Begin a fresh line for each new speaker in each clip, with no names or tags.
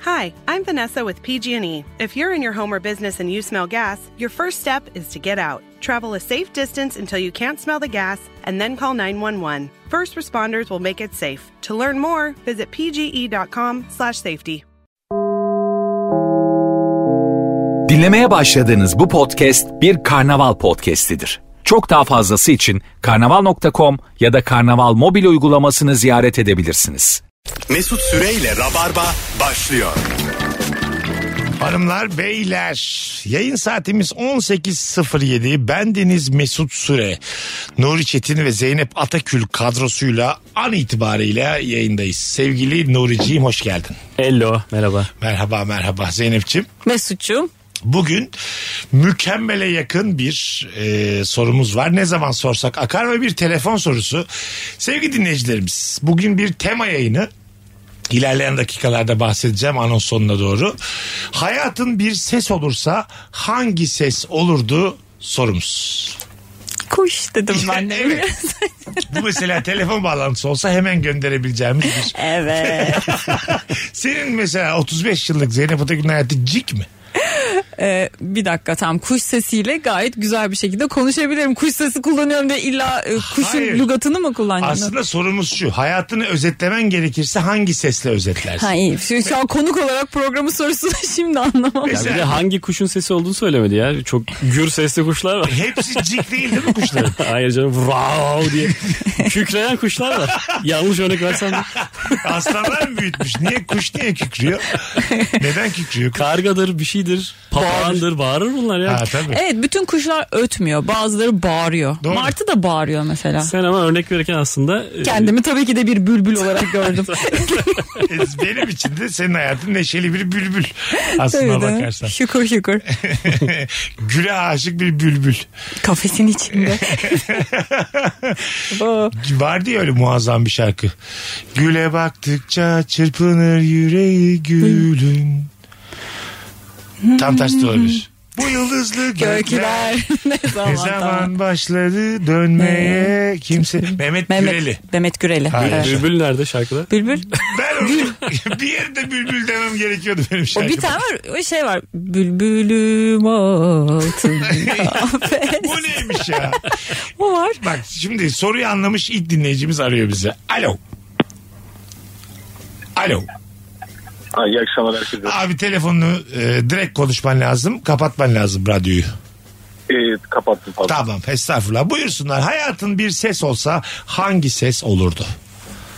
Hi, I'm Vanessa with PG&E. E. If you're in your home or business and you smell gas, your first step is to get out. Travel a safe distance until you can't smell the gas and then call 911. First responders will make it safe. To learn more, visit E pge.com/safety.
Dinlemeye başladığınız bu podcast bir karnaval podcastidir. Çok daha fazlası için karnaval.com ya da karnaval mobil uygulamasını ziyaret edebilirsiniz.
Mesut Süreyle Rabarba başlıyor.
Hanımlar beyler yayın saatimiz 18.07 bendeniz Mesut Süre Nuri Çetin ve Zeynep Atakül kadrosuyla an itibariyle yayındayız sevgili Nuriciğim hoş geldin
Hello merhaba.
merhaba merhaba Zeynep'ciğim
Mesut'cum.
bugün mükemmele yakın bir e, sorumuz var ne zaman sorsak akar ve bir telefon sorusu sevgili dinleyicilerimiz bugün bir tema yayını İlerleyen dakikalarda bahsedeceğim anons sonuna doğru. Hayatın bir ses olursa hangi ses olurdu sorumuz.
Kuş dedim ben de.
Evet. Bu mesela telefon bağlantısı olsa hemen gönderebileceğimiz bir.
Evet.
Senin mesela 35 yıllık Zeynep Atagül'ün hayatı cik mi?
Ee, bir dakika tam kuş sesiyle gayet güzel bir şekilde konuşabilirim. Kuş sesi kullanıyorum diye illa e, kuşun
Hayır.
lügatını mı kullanacaksın?
Aslında sorumuz şu. Hayatını özetlemen gerekirse hangi sesle özetlersin?
Ha iyi. Şu, şu an konuk olarak programın sorusunu şimdi anlamam.
Ya bir de hangi kuşun sesi olduğunu söylemedi ya. Çok gür sesli kuşlar var.
Hepsi cik değil değil mi kuşların?
Hayır canım wow diye kükreyen kuşlar var. Yanlış örnek versem de.
Aslanlar mı büyütmüş? Niye kuş niye kükrüyor? Neden kükrüyor?
kargadır bir şeydir papağandır bağırır bunlar ya.
Ha tabii.
Evet bütün kuşlar ötmüyor. Bazıları bağırıyor.
Doğru.
Martı da bağırıyor mesela.
Sen ama örnek verirken aslında e,
Kendimi tabii ki de bir bülbül olarak gördüm.
E, Benim için de senin hayatın neşeli bir bülbül. Aslına
Tabii de.
bakarsan.
Şükür şükür.
Güle aşık bir bülbül.
Kafesin içinde. Bu.
Vardı ya öyle muazzam bir şarkı. Güle baktıkça çırpınır yüreği gülün. Tam tersi de olabilir. Bu yıldızlı gökler.
Gökler ne zaman?
Ne zaman başladı dönmeye kimse... Mehmet,
Mehmet
Güreli.
Mehmet Güreli.
Hayır.
Evet.
Bülbül nerede şarkıda?
Bülbül.
Ben onu, bir yerde bülbül demem gerekiyordu benim
O
şarkıda.
bir tane var. O şey var. Bülbülüm altın kahve.
Bu neymiş ya?
o var.
Bak şimdi soruyu anlamış ilk dinleyicimiz arıyor bizi. Alo. Alo.
Ha, iyi akşamlar herkese.
Abi telefonunu e, direkt konuşman lazım. Kapatman lazım radyoyu.
Ee, kapattım fazla.
Tamam estağfurullah. Buyursunlar. Hayatın bir ses olsa hangi ses olurdu?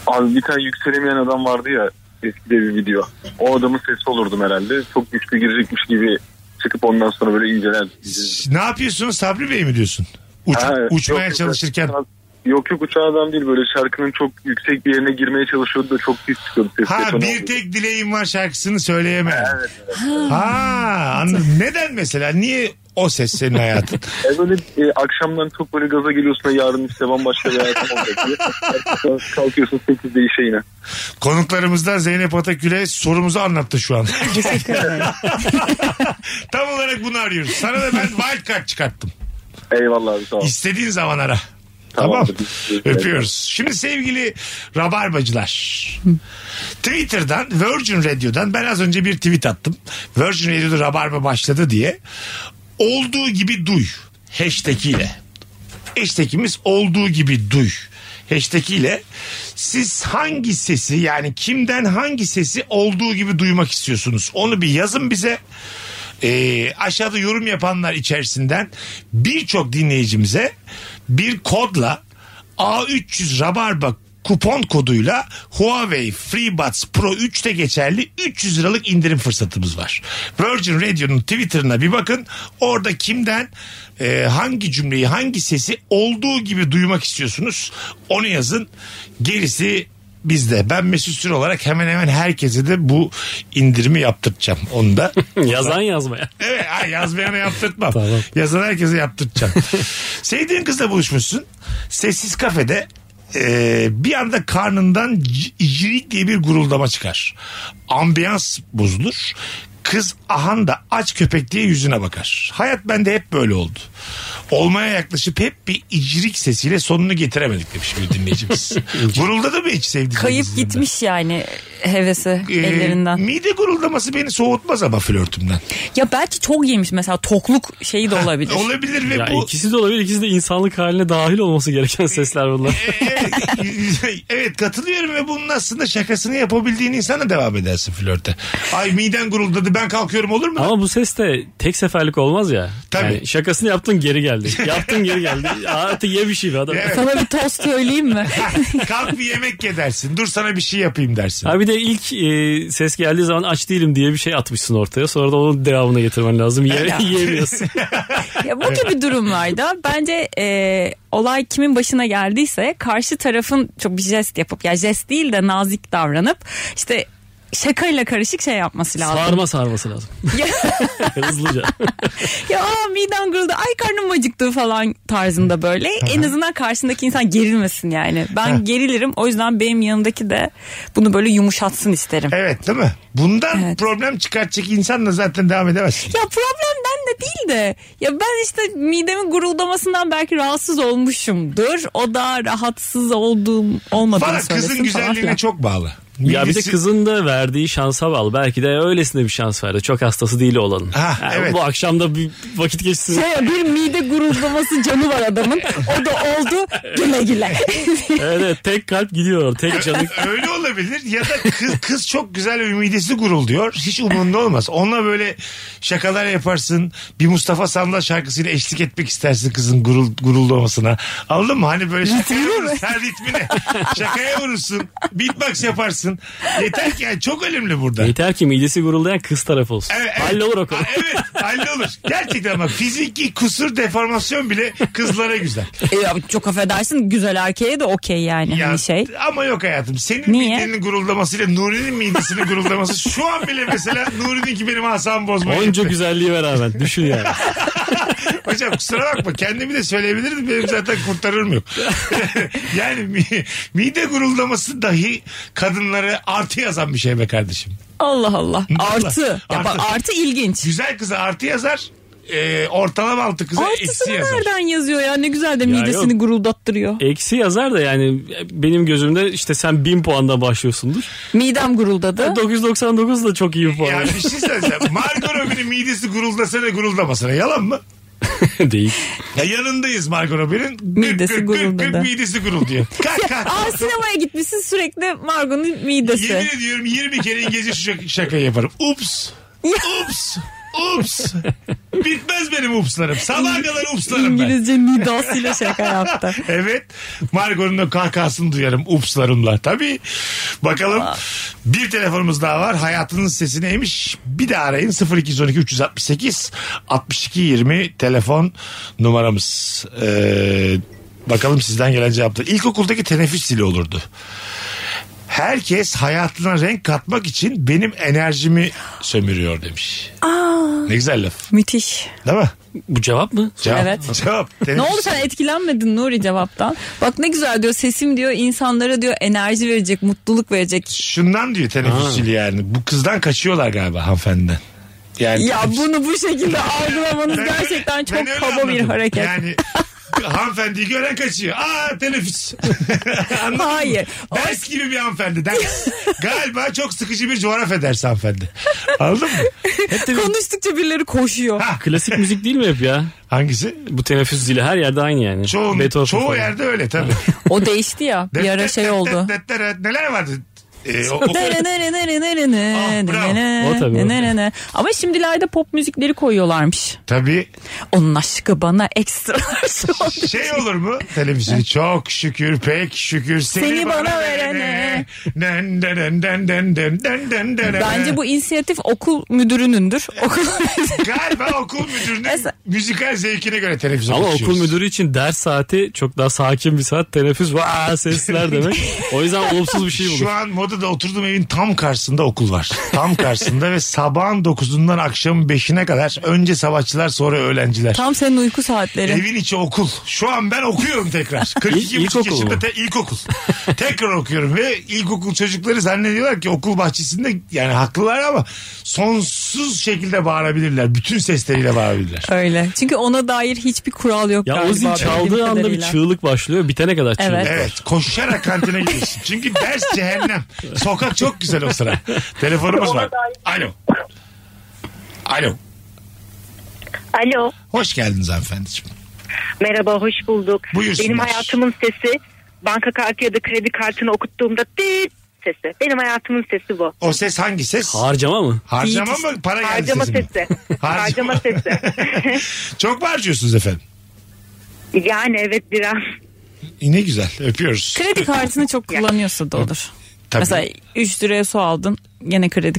Abi bir tane yükselemeyen adam vardı ya eskide bir video. O adamın sesi olurdum herhalde. Çok güçlü girecekmiş gibi çıkıp ondan sonra böyle inceler.
Ne yapıyorsun Sabri Bey mi diyorsun? Uç-
Ha,
uçmaya
yok, yok,
çalışırken.
uçağı- Yok yok uçan adam değil böyle şarkının çok yüksek bir yerine girmeye çalışıyordu da çok pis çıkıyordu. Ses
Ha
detonu
bir
oldu.
tek dileğim var şarkısını söyleyemem.
Evet,
Ha anladım. Neden mesela? Niye o ses senin hayatın?
E, böyle e, akşamdan çok böyle gaza geliyorsun da yarın işte bambaşka bir hayatım olacak diye. Kalkıyorsun 8'de işe yine.
Konuklarımızdan Zeynep Atakül'e sorumuzu anlattı şu an.
Teşekkür ederim.
Tam olarak bunu arıyoruz. Sana da ben wildcard çıkarttım.
Eyvallah abi sağ ol.
İstediğin zaman ara. Tamam.
Tamam.
Öpüyoruz. Şimdi sevgili Rabarbacılar. Twitter'dan Virgin Radio'dan ben az önce bir tweet attım. Virgin Radio'da Rabarba başladı diye. Olduğu gibi duy. Hashtag ile. Hashtag'imiz olduğu gibi duy. Hashtag ile siz hangi sesi yani kimden hangi sesi olduğu gibi duymak istiyorsunuz? Onu bir yazın bize. Ee, aşağıda yorum yapanlar içerisinden birçok dinleyicimize bir kodla A300 Rabarba kupon koduyla Huawei FreeBuds Pro 3'te geçerli 300 liralık indirim fırsatımız var. Virgin Radio'nun Twitter'ına bir bakın. Orada kimden e, hangi cümleyi hangi sesi olduğu gibi duymak istiyorsunuz onu yazın. Gerisi bizde. Ben Mesut Süre olarak hemen hemen herkese de bu indirimi yaptıracağım. Onu da
Yazan yazmaya.
Evet ha, yazmayana yaptırtmam.
Tamam.
Yazan herkese yaptırtacağım. Sevdiğin kızla buluşmuşsun. Sessiz kafede e, bir anda karnından c- icirik diye bir guruldama çıkar. Ambiyans bozulur. Kız ahan da aç köpek diye yüzüne bakar. Hayat bende hep böyle oldu. olmaya yaklaşıp hep bir icrik sesiyle sonunu getiremedik demiş bir dinleyicimiz. Guruldadı mı hiç sevdiğiniz?
Kayıp gitmiş yani hevesi ellerinden.
Mide guruldaması beni soğutmaz ama flörtümden.
Ya belki çok yemiş mesela tokluk şeyi de olabilir.
Olabilir ve
Ya
bu...
ikisi de olabilir. ikisi de insanlık haline dahil olması gereken sesler bunlar.
Evet, evet katılıyorum ve bunun aslında şakasını yapabildiğin insana devam edersin flörte. Ay midem guruldadı ben kalkıyorum olur mu?
Ama bu ses de tek seferlik olmaz ya.
Tabii.
Yani şakasını yaptın geri geldi. Yaptın geri geldi. Artık ye bir şey be adam.
Evet.
Sana bir tost söyleyeyim mi?
Kalk bir yemek ye dersin. Dur sana bir şey yapayım dersin.
Ha bir de ilk e, ses geldiği zaman aç değilim diye bir şey atmışsın ortaya. Sonra da onun devamına getirmen lazım. Ye, yiyemiyorsun.
ya bu gibi durumlarda bence e, olay kimin başına geldiyse karşı tarafın çok bir jest yapıp ya jest değil de nazik davranıp işte şakayla karışık şey yapması lazım.
Sarma sarması lazım. Hızlıca.
ya aa, midem guruldu ay karnım acıktı falan tarzında böyle. en azından karşındaki insan gerilmesin yani. Ben gerilirim o yüzden benim yanımdaki de bunu böyle yumuşatsın isterim.
Evet değil mi? Bundan
Evet.
problem çıkartacak insanla zaten devam edemezsin.
Ya problemden de değil de ya ben işte midemin guruldamasından belki rahatsız olmuşumdur. O da rahatsız olduğum olmadığını
Valla
söylesin
kızın
falan filan.
güzelliğine çok bağlı.
Ya bir de
Midesi-
kızın da verdiği şansa bağlı. Belki de öylesine bir şans verdi. Çok hastası değil olanın.
Ha,
Yani
evet.
Bu akşam da bir vakit geçsin.
Şey, bir mide guruldaması canı var adamın. O da oldu güle güle.
evet, evet, tek kalp gidiyor. Tek canı.
Öyle olabilir ya da kız, kız çok güzel ve midesi gurulduyor. Hiç umurunda olmaz. Onunla böyle şakalar yaparsın. Bir Mustafa Sandal şarkısıyla eşlik etmek istersin kızın gurul, guruldamasına. Anladın mı? Hani böyle şakaya vurursun. Her ritmine. Şakaya vurursun. Beatbox yaparsın. Yeter ki yani çok önemli burada.
Yeter ki midesi guruldayan kız taraf olsun.
Evet, evet.
Hallolur o konu.
Ha, Evet hallolur. Gerçekten ama fiziki kusur deformasyon bile kızlara güzel.
E, ya çok affedersin güzel erkeğe de okey yani
Ya,
hani şey.
Ama yok hayatım. Senin
Niye?
midenin guruldamasıyla Nuri'nin midesinin guruldaması şu an bile mesela Nuri'ninki benim asabımı bozmaya
Onca
gitti.
güzelliği ve rağmen düşün yani.
Hocam kusura bakma kendimi de söyleyebilirdim benim zaten kurtarırım yok. yani mi- mide guruldaması dahi kadınlara artı yazan bir şey be kardeşim.
Allah Allah. Artı. Ya bak
Artı.
artı ilginç.
Güzel kıza artı yazar. e, ortalama altı kıza eksi
Artısını
yazar.
nereden yazıyor ya? Ne güzel de
Ya
midesini
yok.
guruldattırıyor.
Eksi yazar da yani benim gözümde işte sen 1000 puandan başlıyorsundur.
Midem guruldadı.
999 da çok iyi bir puan.
Ya bir şey söyleyeceğim. Margot Robbie'nin midesi guruldasana guruldamasına yalan mı?
Değil.
Ya yanındayız Margot Robbie'nin. Gık
Midesi
gık gık gık
guruldadı.
midesi gurulduyor. Kalk kalk.
Aa sinemaya gitmişsin sürekli Margot'un midesi.
Yemin ediyorum 20 kere İngilizce şu şak- şakayı yaparım. Ups. Ups. Ups. Bitmez benim upslarım. Sabaha kadar upslarım ben.
İngilizce nidasıyla şaka yaptı.
Evet. Margot'un da kahkahasını duyarım upslarımla. Tabii. Bakalım. Bir telefonumuz daha var. Hayatının sesi neymiş? Bir de arayın. 0212 368 62 20 telefon numaramız. Ee, bakalım sizden gelen cevaplar. İlkokuldaki teneffüs zili olurdu. Herkes hayatına renk katmak için benim enerjimi sömürüyor demiş. Ne güzel laf.
Müthiş.
Değil mi?
Bu cevap mı?
Cevap.
Evet.
Cevap.
Ne
Teneffüs-
oldu sen etkilenmedin Nuri cevaptan. Bak ne güzel diyor sesim diyor insanlara diyor enerji verecek, mutluluk verecek.
Şundan diyor teneffüsçülü yani. Bu kızdan kaçıyorlar galiba hanımefendiden. Yani
Ya bunu bu şekilde algılamanız
Ben-
gerçekten
ben
çok
öyle
kaba bir
anladım.
hareket.
Yani hanımefendiyi gören kaçıyor. Aa teneffüs. Anladın mı?
Hayır.
Ders gibi bir hanımefendi. Ders. Galiba çok sıkıcı bir coğrafya dersi hanımefendi. Anladın mı?
Hep de bir-
Konuştukça birileri koşuyor.
Klasik müzik değil mi hep ya?
Hangisi?
Bu teneffüs zili her yerde aynı yani.
Çoğun,
Beethoven
çoğu
falan.
yerde öyle tabii.
O değişti ya. Bir ara şey oldu.
Neler vardı? Ee, o, o-
Nere nere nere nere
Ah,
nere
bravo.
nere
O tabii, o.
nere nere. Ama şimdilerde pop müzikleri koyuyorlarmış.
tabii.
Onun aşkı bana ekstra.
Şey olur mu? Televizyonu çok şükür pek şükür seni,
Seni
bana,
bana
verene.
verene.
Den den den den den den den den den.
Bence bu inisiyatif okul müdürünündür. Okul
galiba okul müdürünün
Mesela-
müzikal zevkine göre televizyon
Ama
açıyoruz.
okul müdürü için ders saati çok daha sakin bir saat. Teneffüs vaa sesler demek. O yüzden olumsuz bir şey
Şu
bulur.
an moda Hollanda'da oturduğum evin tam karşısında okul var. Tam karşısında ve sabahın 9'undan akşamın 5'ine kadar önce sabahçılar sonra öğlenciler.
Tam senin uyku saatleri.
Evin içi okul. Şu an ben okuyorum tekrar. 42 buçuk
İlkokul
yaşında
mu?
te- ilkokul. tekrar okuyorum ve ilkokul çocukları zannediyorlar ki okul bahçesinde yani haklılar ama sonsuz şekilde bağırabilirler. Bütün sesleriyle bağırabilirler.
Öyle. Çünkü ona dair hiçbir kural yok
Ya
galiba.
o zil
bildiğim
çaldığı anda bir
kadarıyla.
çığlık başlıyor. Bitene kadar çığlık.
Evet.
Evet koşarak kantine gidiyorsun. Çünkü ders cehennem. Sokak çok güzel o sıra. Telefonumuz var. Alo. Alo.
Alo.
Hoş geldiniz hanımefendiciğim.
Merhaba hoş bulduk.
Buyursunlar.
Benim hayatımın sesi banka kartı ya da kredi kartını okuttuğumda tit sesi. Benim hayatımın sesi bu.
O ses hangi ses?
Harcama mı?
Harcama mı? Para geldi
Harcama
sesi mi?
sesi.
Harcama.
Harcama sesi.
Çok mu harcıyorsunuz efendim?
yani evet biraz.
E, Ne güzel öpüyoruz.
Kredi kartını çok kullanıyorsa da olur.
Tabii.
Mesela 3 liraya su aldın gene kredi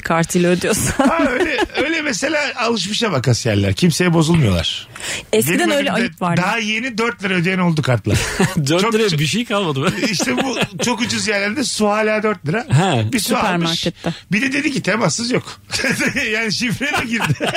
kartıyla ödüyorsan.
Ha, öyle, öyle mesela alışmışa bak askerler. Kimseye bozulmuyorlar.
Eskiden
Benim
öyle
önümde
ayıp vardı.
Daha yeni 4 lira ödeyen oldu kartlar.
4
Çok-
liraya bir şey kalmadı be.
işte bu çok ucuz yerlerde su hala 4 lira.
He,
bir su almış.
süpermarkette.
Bir de dedi ki temassız yok. yani şifre de girdi.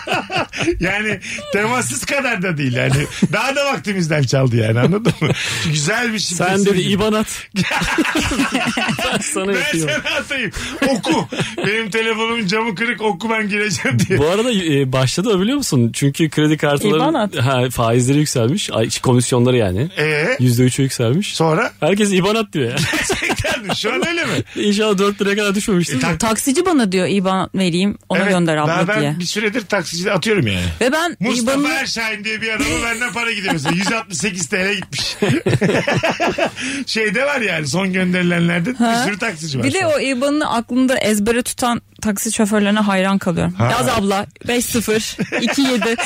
yani temassız kadar da değil. Yani daha da vaktimizden çaldı yani anladın mı? Güzel bir şifre.
Sen dedi İban at. ben sana
Ben
yapıyorum.
sana atayım. Oku. Benim telefonumun camı kırık oku ben gireceğim diye.
Bu arada e, başladı o biliyor musun? Çünkü kredi
İban
kartları
at.
ha, faizleri yükselmiş. Ay, komisyonları yani.
Ee?
%3'e yükselmiş.
Sonra
Herkes İban at diyor ya.
gerçekten mi? Şu an öyle mi?
İnşallah 4 liraya kadar düşmemiştir.
E, tak-
Taksici bana diyor IBAN vereyim ona
Evet,
gönder abla
daha ben
diye.
bir süredir taksicide atıyorum yani.
Ve ben
Mustafa
IBAN'ı
Erşahin diye bir adamı benden para gidiyor mesela. 168 TL gitmiş. Şeyde var yani son gönderilenlerde bir
Ha.
sürü taksici var.
bir de
şu
o IBAN'ını aklında ezbere tutan taksi şoförlerine hayran kalıyorum. Yaz abla 50 27.
an.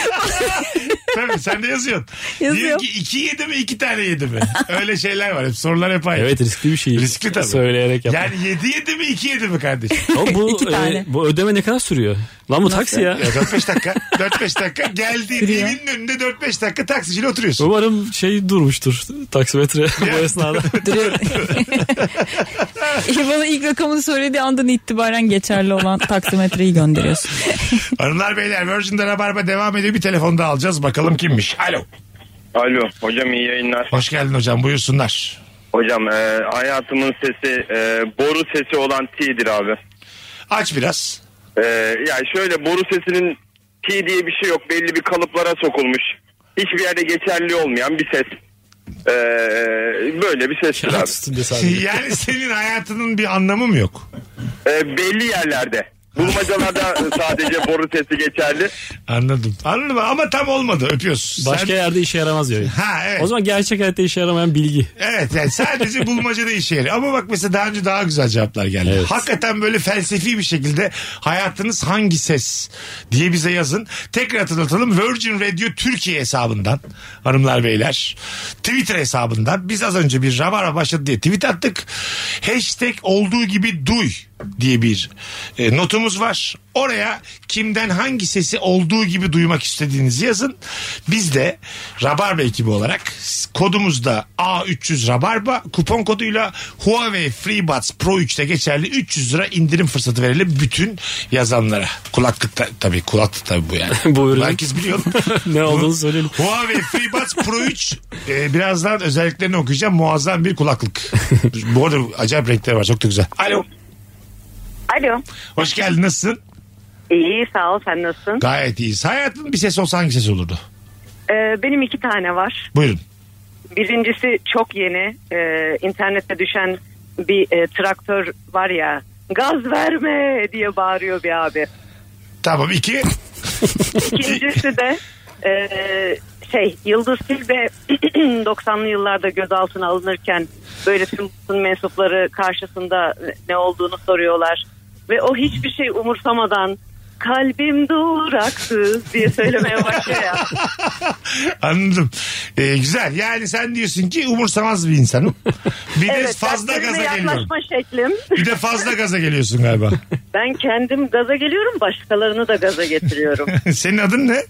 Tabii sen de yazıyorsun.
Yazıyor.
Diyor ki iki yedi mi iki tane yedi mi? Öyle şeyler var. Hep sorular hep aynı.
Evet riskli bir şey.
Riskli tabii.
Söyleyerek yapmak.
Yani yedi yedi mi iki yedi mi kardeşim?
Ama bu,
İki
e,
tane.
bu ödeme ne kadar sürüyor? Lan bu taksi ya.
Ya 4-5 dakika. 4-5 dakika. Geldiğin evinin önünde 4-5 dakika taksiciyle oturuyorsun.
Umarım şey durmuştur taksimetre bu esnada.
IBAN'ın ilk rakamını söylediği andan itibaren geçerli olan taksimetreyi gönderiyorsun.
Hanımlar beyler Virgin'de Rabarba devam ediyor. Bir telefon daha alacağız. Bakalım kimmiş? Alo.
Alo hocam iyi yayınlar.
Hoş geldin hocam. Buyursunlar.
Hocam e, hayatımın sesi e, boru sesi olan T'dir abi.
Aç biraz.
E, yani şöyle boru sesinin T diye bir şey yok belli bir kalıplara sokulmuş. Hiçbir yerde geçerli olmayan bir ses. E, böyle bir sestir abi.
Üstünde sadece.
Yani senin hayatının bir anlamı mı yok?
E, belli yerlerde. Bulmacalarda sadece boru sesi geçerli.
Anladım. Anladım ama tam olmadı. Öpüyoruz.
Başka
Sen-
yerde işe yaramaz diyor.
Ha evet.
O zaman gerçek hayatta işe yaramayan bilgi.
Evet yani sadece bulmacada işe yarıyor. Ama bak mesela daha önce daha güzel cevaplar geldi.
Evet.
Hakikaten böyle felsefi bir şekilde hayatınız hangi ses diye bize yazın. Tekrar hatırlatalım Virgin Radio Türkiye hesabından hanımlar beyler Twitter hesabından biz az önce bir Rabara başladı diye tweet attık. Hashtag olduğu gibi duy diye bir e, notumuz var. Oraya kimden hangi sesi olduğu gibi duymak istediğinizi yazın. Biz de Rabarba ekibi olarak kodumuzda A300 Rabarba kupon koduyla Huawei FreeBuds Pro 3'te geçerli 300 lira indirim fırsatı verelim bütün yazanlara. Kulaklık ta- tabii kulaklık tabii bu yani.
Bu ürün.
Herkes biliyor.
Ne olduğunu söyleyelim.
Huawei FreeBuds Pro 3 e, birazdan özelliklerini okuyacağım. Muazzam bir kulaklık. bu arada acayip renkleri var. Çok da güzel. Alo.
Alo.
Hoş geldin. Nasılsın?
İyi sağ ol sen nasılsın?
Gayet iyiyiz. Hayatın bir ses olsa hangi ses olurdu?
Ee, benim iki tane var.
Buyurun.
Birincisi çok yeni. Ee, internette düşen bir e, traktör var ya. Gaz verme diye bağırıyor bir abi.
Tamam iki.
İkincisi de e, şey Yıldız Tilbe 90'lı yıllarda gözaltına alınırken böyle tüm basın mensupları karşısında ne olduğunu soruyorlar. Ve o hiçbir şey umursamadan kalbim duraksız diye söylemeye başlıyor ya.
Anladım. Ee, güzel. Yani sen diyorsun ki umursamaz bir insanım. Bir de fazla
dertlerime
gaza geliyorum.
yaklaşma şeklim.
Bir de fazla gaza geliyorsun galiba.
Ben kendim gaza geliyorum başkalarını da gaza getiriyorum.
Senin adın ne?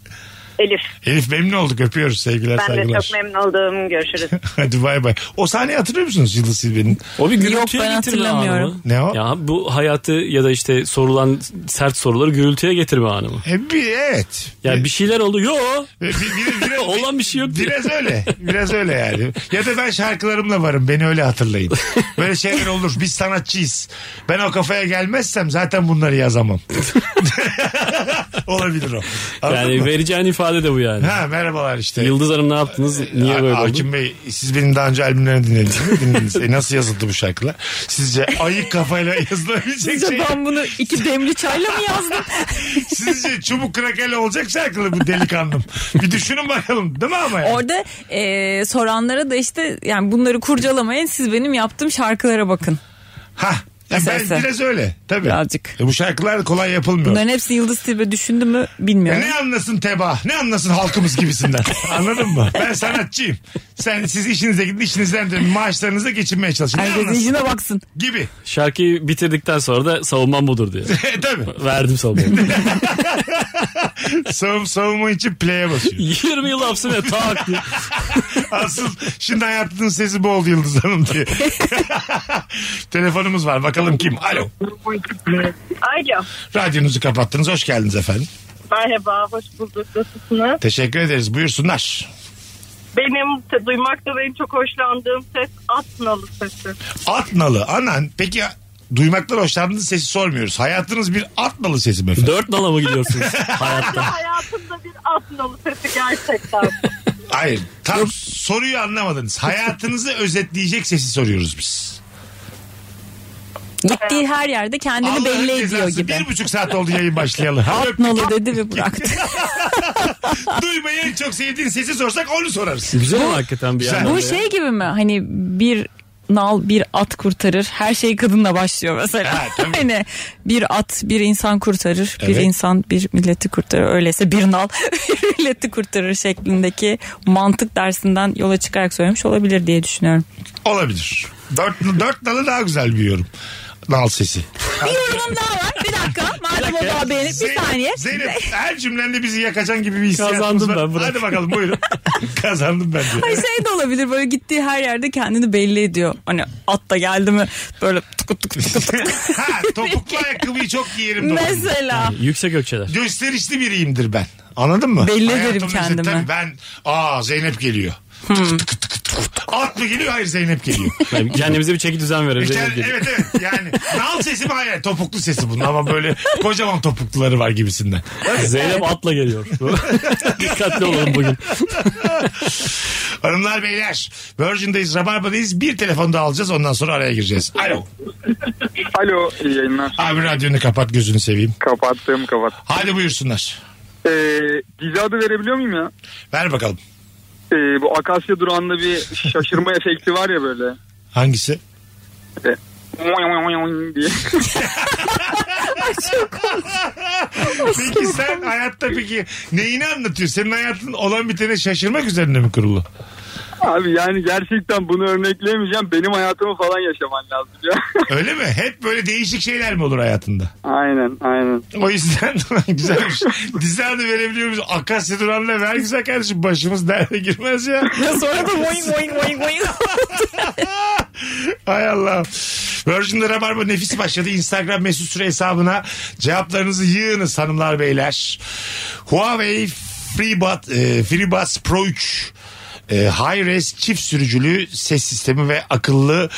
Elif.
Elif memnun olduk öpüyoruz sevgiler
Ben de
saygılar.
çok memnun oldum. Görüşürüz.
Hadi bay bay. O sahneyi hatırlıyor musunuz Yıldız Silbe'nin?
O bir gürültüye
Yok, ben
getirme
hatırlamıyorum.
anı mı?
Ne o?
Ya bu hayatı ya da işte sorulan sert soruları gürültüye getirme anı mı?
E, bir, evet.
Ya bir şeyler oldu. Yo.
Bir- bir- bir- bir-
Olan bir şey yok. diye.
Biraz öyle. Biraz öyle yani. Ya da ben şarkılarımla varım. Beni öyle hatırlayın. Böyle şeyler olur. Biz sanatçıyız. Ben o kafaya gelmezsem zaten bunları yazamam. Olabilir o. Anladın
Yani
mı?
vereceğin ifade de bu yani.
Ha merhabalar işte.
Yıldız Hanım ne yaptınız? Niye
Ha-
böyle oldu?
Hakim Bey siz benim daha önce albümlerimi dinlediniz mi? Dinlediniz. E, nasıl yazıldı bu şarkılar? Sizce ayık kafayla yazılabilecek
Sizce
şey.
ben bunu iki demli çayla mı yazdım?
Sizce çubuk krakerle olacak şarkılı bu delikanlım. Bir düşünün bakalım değil mi ama yani?
Orada e, soranlara da işte yani bunları kurcalamayın siz benim yaptığım şarkılara bakın.
Ha. Ya ben
Esası.
biraz öyle. Tabii.
Birazcık.
E, bu şarkılar kolay yapılmıyor.
Bunların hepsi Yıldız Tilbe düşündü mü
Ya
bilmiyorum.
E ne anlasın teba, ne anlasın halkımız gibisinden. Anladın mı? Ben sanatçıyım. Sen siz işinize gidin, işinizden dönün, maaşlarınızla geçinmeye çalışın. Ne
Herkes
anlasın?
işine baksın.
Gibi.
Şarkıyı bitirdikten sonra da savunmam budur diye.
E, tabii.
Verdim savunmamı.
Savun, savunma için play'e basıyor.
20 yıl hapsine tak diye.
Asıl şimdi hayatının sesi bu oldu Yıldız Hanım diye. Telefonumuz var. Bakalım kim? Alo.
Alo.
Radyonuzu kapattınız. Hoş geldiniz efendim.
Merhaba. Hoş bulduk. Nasılsınız?
Teşekkür ederiz. Buyursunlar.
Benim te- duymakta benim çok hoşlandığım ses Atnalı sesi.
At nalı. Anan. Peki duymaktan hoşlandığınız sesi sormuyoruz. Hayatınız bir at nalı sesi mi efendim?
Dört nala mı gidiyorsunuz hayatta?
Hayatımda bir Atnalı sesi gerçekten.
Hayır. Tam soruyu anlamadınız. Hayatınızı özetleyecek sesi soruyoruz biz.
Gittiği her yerde kendini
Allah'ın
belli ediyor
cezası.
gibi.
Bir buçuk saat oldu yayın başlayalı. Hadi öptük.
Nalı dedi ve bıraktı.
Duymayı en çok sevdiğin sesi sorsak onu sorarız.
Güzel ama hakikaten bir
Güzel.
yandan.
Bu
da ya.
şey gibi mi? Hani bir nal bir at kurtarır. Her şey kadınla başlıyor mesela.
Ha, tabii.
hani bir at bir insan kurtarır. Bir
Evet.
insan bir milleti kurtarır. Öyleyse bir nal bir milleti kurtarır şeklindeki mantık dersinden yola çıkarak söylemiş olabilir diye düşünüyorum.
Olabilir. Dört, dört nalı daha güzel bir yorum. Nal sesi.
Bir yorumum daha var. Bir dakika. Madem o daha beğenip bir
Zeynep,
saniye.
Zeynep her cümlende bizi yakacaksın gibi bir hissiyatımız
Kazandım
var.
ben, bırak.
Hadi bakalım buyurun. Kazandım ben diye.
Hayır şey de olabilir böyle gittiği her yerde kendini belli ediyor. Hani at da geldi mi böyle tıkı tıkı tıkı tıkı.
ha, topuklu ayakkabıyı çok giyerim. doğru.
Mesela.
Yüksek ökçeler.
Gösterişli biriyimdir ben. Anladın mı?
Belli
Hayatımda
ederim
işte
kendimi.
tabii ben aa Zeynep geliyor. Tık tık tık tık tık. At mı geliyor? Hayır Zeynep geliyor.
Yani kendimize bir çeki düzen verelim.
İşte evet evet yani nal sesi mi hayır topuklu sesi bunun ama böyle kocaman topukluları var gibisinden.
Zeynep atla geliyor. Dikkatli olalım bugün.
Hanımlar beyler Virgin'dayız Rabarba'dayız bir telefon daha alacağız ondan sonra araya gireceğiz. Alo
Alo iyi yayınlar.
abi radyonu kapat gözünü seveyim.
Kapattım kapat.
Hadi buyursunlar
Ee, dizi adı verebiliyor muyum ya?
ver bakalım
Ee, bu Akasya durağında bir şaşırma efekti var ya böyle.
hangisi?
diye.
Peki sen hayatta peki neyini anlatıyor? Senin hayatın olan bitene şaşırmak üzerine mi kurulu?
Abi yani gerçekten bunu örnekleyemeyeceğim. Benim hayatımı falan yaşaman lazım ya.
Öyle mi? Hep böyle değişik şeyler mi olur hayatında?
aynen aynen.
O yüzden güzelmiş. Dizi adı verebiliyor muyuz? Akasya Duran'la ver güzel kardeşim başımız derde girmez ya.
Ya sonra da boing boing boing boing.
Hay Allah. Virgin'de Rabarba nefis başladı. Instagram mesut süre hesabına cevaplarınızı yığınız hanımlar beyler. Huawei FreeBuds, e, FreeBuds Pro 3 e, Hi-Res çift sürücülü ses sistemi ve akıllı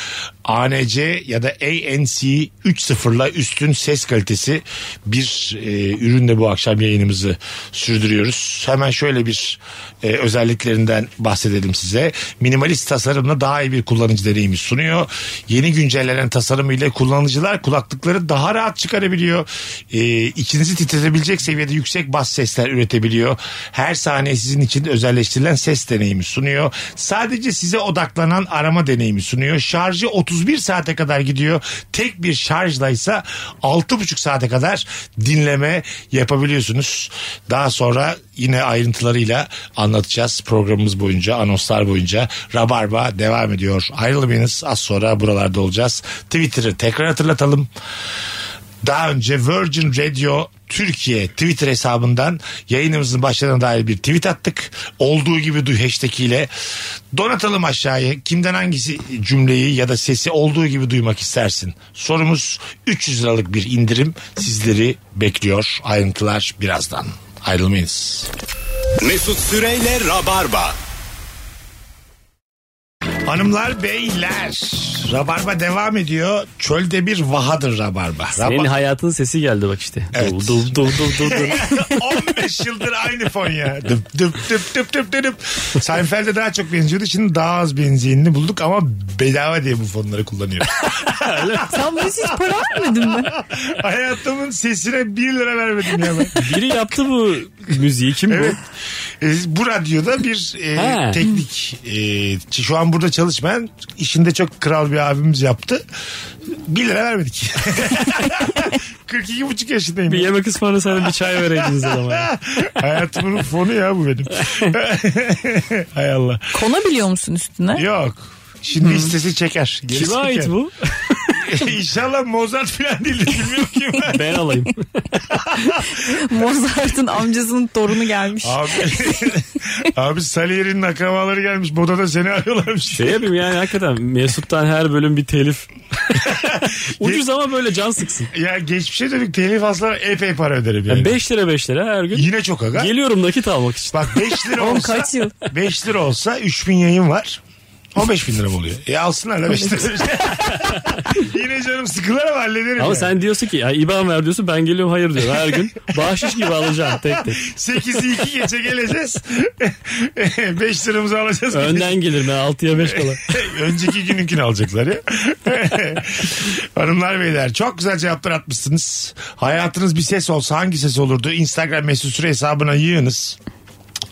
ANC ya da ANC 3.0'la üstün ses kalitesi bir e, ürünle bu akşam yayınımızı sürdürüyoruz. Hemen şöyle bir e, özelliklerinden bahsedelim size. Minimalist tasarımla daha iyi bir kullanıcı deneyimi sunuyor. Yeni güncellenen tasarım ile kullanıcılar kulaklıkları daha rahat çıkarabiliyor. E, içinizi titretebilecek seviyede yüksek bas sesler üretebiliyor. Her saniye sizin için özelleştirilen ses deneyimi sunuyor. Sadece size odaklanan arama deneyimi sunuyor. Şarjı 31 saate kadar gidiyor. Tek bir şarjla ise 6,5 saate kadar dinleme yapabiliyorsunuz. Daha sonra yine ayrıntılarıyla anlatacağız programımız boyunca, anonslar boyunca. Rabarba devam ediyor. Ayrılmayınız az sonra buralarda olacağız. Twitter'ı tekrar hatırlatalım. daha önce Virgin Radio Türkiye Twitter hesabından yayınımızın başladığına dair bir tweet attık. Olduğu gibi duy hashtag ile. Donatalım aşağıya kimden hangisi cümleyi ya da sesi olduğu gibi duymak istersin. Sorumuz 300 liralık bir indirim sizleri bekliyor. Ayrıntılar birazdan. Ayrılmayınız.
Mesut Süreyle Rabarba.
Hanımlar beyler Rabarba devam ediyor. Çölde bir vahadır Rabarba.
Senin
Raba-
hayatın sesi geldi bak işte.
Evet.
Dul dul dul dul dul dul.
15 yıldır aynı fon ya. Dıp dıp dıp dıp dıp dıp. Seinfeld'e daha çok benziyordu. Şimdi daha az benzinini bulduk ama bedava diye bu fonları kullanıyor.
Sen bu hiç para vermedin mi?
Hayatımın sesine 1 lira vermedim ya ben.
Biri yaptı bu müziği kim
Evet.
bu?
E, bu radyoda bir e,
Ha.
teknik e, ç- şu an burada çalışmayan işinde çok kral bir abimiz yaptı. 1 lira vermedik. 42,5 yaşındayım.
Bir yemek ısmarlasana bir çay vereydiniz adama. ya.
Hayatımın fonu ya bu benim. Hay Allah.
Konabiliyor musun üstüne?
Yok. Şimdi istesi çeker. Gerisi
Kime ait
çeker.
bu?
İnşallah Mozart falan değildir. Bilmiyorum kim.
Ben alayım.
Mozart'ın amcasının torunu gelmiş.
Abi, abi Salieri'nin akrabaları gelmiş. Boda'da seni arıyorlarmış.
Şey yapayım yani hakikaten Mesut'tan her bölüm bir telif. Ucuz ama böyle can sıksın.
Ya geçmişe dönük telif aslar epey para öderim yani.
5 lira 5 lira her gün.
Yine çok aga.
Geliyorum nakit almak için.
Bak 5 lira
Oğlum
olsa
kaç yıl?
5 lira olsa 3000 yayın var. 15 bin lira mı oluyor? E alsınlar la 5 lira. Yine canım sıkılır ama hallederim.
Ama
yani.
sen diyorsun ki ya IBAN ver diyorsun ben geliyorum hayır diyor her gün. Bahşiş gibi alacağım tek tek.
8'i 2 geçe geleceğiz. 5 liramızı alacağız.
Önden gelirim ben 6'ya 5 kala.
Önceki gününkini alacaklar ya. Hanımlar beyler çok güzel cevaplar atmışsınız. Hayatınız bir ses olsa hangi ses olurdu? Instagram mesut süre hesabına yığınız.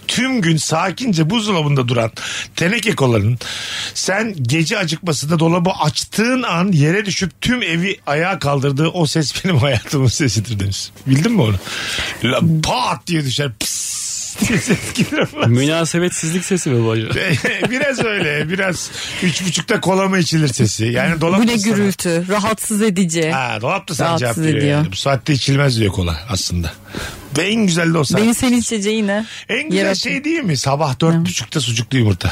Tüm gün sakince buzdolabında duran teneke kolanın sen gece acıkmasında dolabı açtığın an yere düşüp tüm evi ayağa kaldırdığı o ses benim hayatımın sesidir demiş. Bildin mi onu? La, pat diye düşer. Pıs diye ses gelir ama.
Münasebetsizlik sesi mi bu acaba?
biraz öyle biraz üç buçukta kola mı içilir sesi yani dolap
Bu ne
da sana-
gürültü? Rahatsız edici.
ha, dolap da sana cevap
Rahatsız
veriyor
ediyor.
yani. bu saatte içilmez diyor kola aslında ve en güzel de o saat
Beni senin içeceği ne?
en güzel
Yaratın.
şey değil mi sabah dört buçukta sucuklu yumurta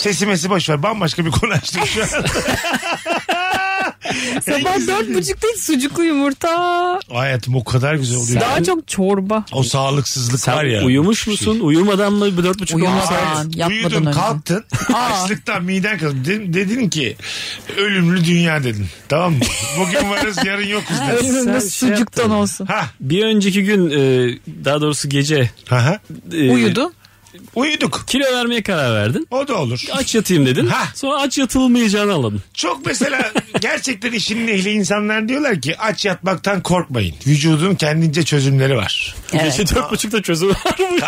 sesi mesi boş ver bambaşka bir konu açtık şu an
Sabah dört buçukta hiç sucuklu yumurta.
hayatım o kadar güzel oluyor
Daha çok çorba.
o sağlıksızlık
Sen
var ya Şey.
uyumuş musun? Uyumadan mı bir dört buçuk olmuş saat?
Uyumadan, yatmadan
Uyudun
önce.
kalktın açlıktan miden kazın dedin, dedin ki ölümlü dünya dedin tamam mı bugün varız yarın yokuz dedin
Sen
Ölümümüz
şey
sucuktan
yaptın.
olsun.
ha
Bir önceki gün e, daha doğrusu gece
Aha.
e,
Uyudu.
Uyuduk.
Kilo vermeye karar verdin.
O da olur.
Aç yatayım dedin.
Hah.
Sonra aç yatılmayacağını anladın.
Çok mesela gerçekten işinin ehli insanlar diyorlar ki aç yatmaktan korkmayın. Vücudun kendince çözümleri var.
Gece dört buçukta çözüm var mı?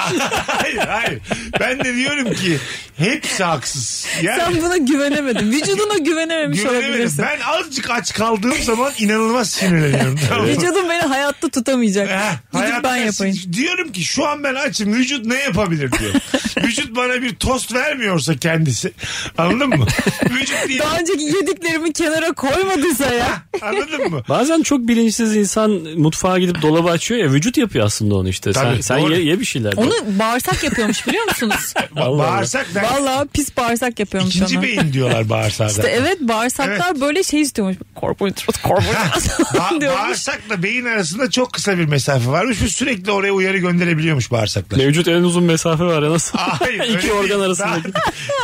hayır hayır. Ben de diyorum ki hepsi haksız. Yani
Sen buna güvenemedin. Vücuduna güvenememiş
güvenemedim.
olabilirsin.
Ben azıcık aç kaldığım zaman inanılmaz sinirleniyorum. Tamam mı?
Vücudum beni hayatta tutamayacak.
Heh,
Gidip
Eh, hayatta
ben yapayım.
Diyorum ki şu an ben açım vücut ne yapabilir diyor. vücut bana bir tost vermiyorsa kendisi. Anladın mı? Vücut diye.
Daha önceki yediklerimi kenara koymadıysa
Ah,
ya.
Anladın mı?
Bazen çok bilinçsiz insan mutfağa gidip dolabı açıyor ya vücut yapıyor aslında onu işte.
Tabii,
sen sen
doğru.
ye, ye bir şeyler.
Onu bağırsak yapıyormuş biliyor musunuz?
Allah Allah.
Bağırsak ben
Vallahi pis bağırsak yapıyormuş
İkinci
ona.
beyin diyorlar bağırsakta.
İşte evet bağırsaklar böyle şey istiyormuş. Karbonhidrat, karbonhidrat
Ba-
diyormuş.
bağırsakla beyin arasında çok kısa bir mesafe varmış ve sürekli oraya uyarı gönderebiliyormuş bağırsaklar.
Mevcut en uzun mesafe var ya nasıl?
Hayır, öyle
İki
değil.
organ
Daha,
arasındaki.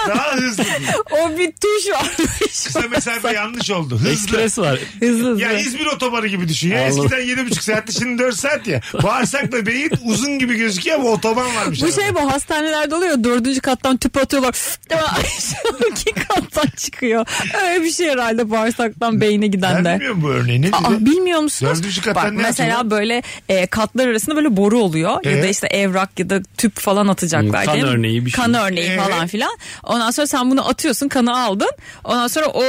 daha hızlı.
O bir tuş varmış.
Kısa mesafe yanlış oldu. Hızlı.
Ekspres var.
Hızlı hızlı.
Ya İzmir otobanı gibi düşün. Ya
Anladım.
eskiden yedi buçuk saatti şimdi 4 saat ya. Bağırsakla beyin uzun gibi gözüküyor ama otoban varmış.
Bu
arada.
şey bu hastanelerde oluyor ya, dördüncü kattan tüp atıyorlar. İki kattan çıkıyor. Öyle bir şey herhalde bağırsaktan beyne
Ben
giden de.
bilmiyorum bu örneği. Ne
Aa,
dedi?
bilmiyor musunuz?
Dördüncü kattan
Bak,
ne
mesela
atıyorlar?
böyle e, katlar arasında böyle boru oluyor
Ee?
ya da işte evrak ya da tüp falan atacaklar.
Hmm, kan
değil mi?
örneği bir şey.
Kan örneği
Ee?
falan filan. Ondan sonra sen bunu atıyorsun kanı aldın. Ondan sonra o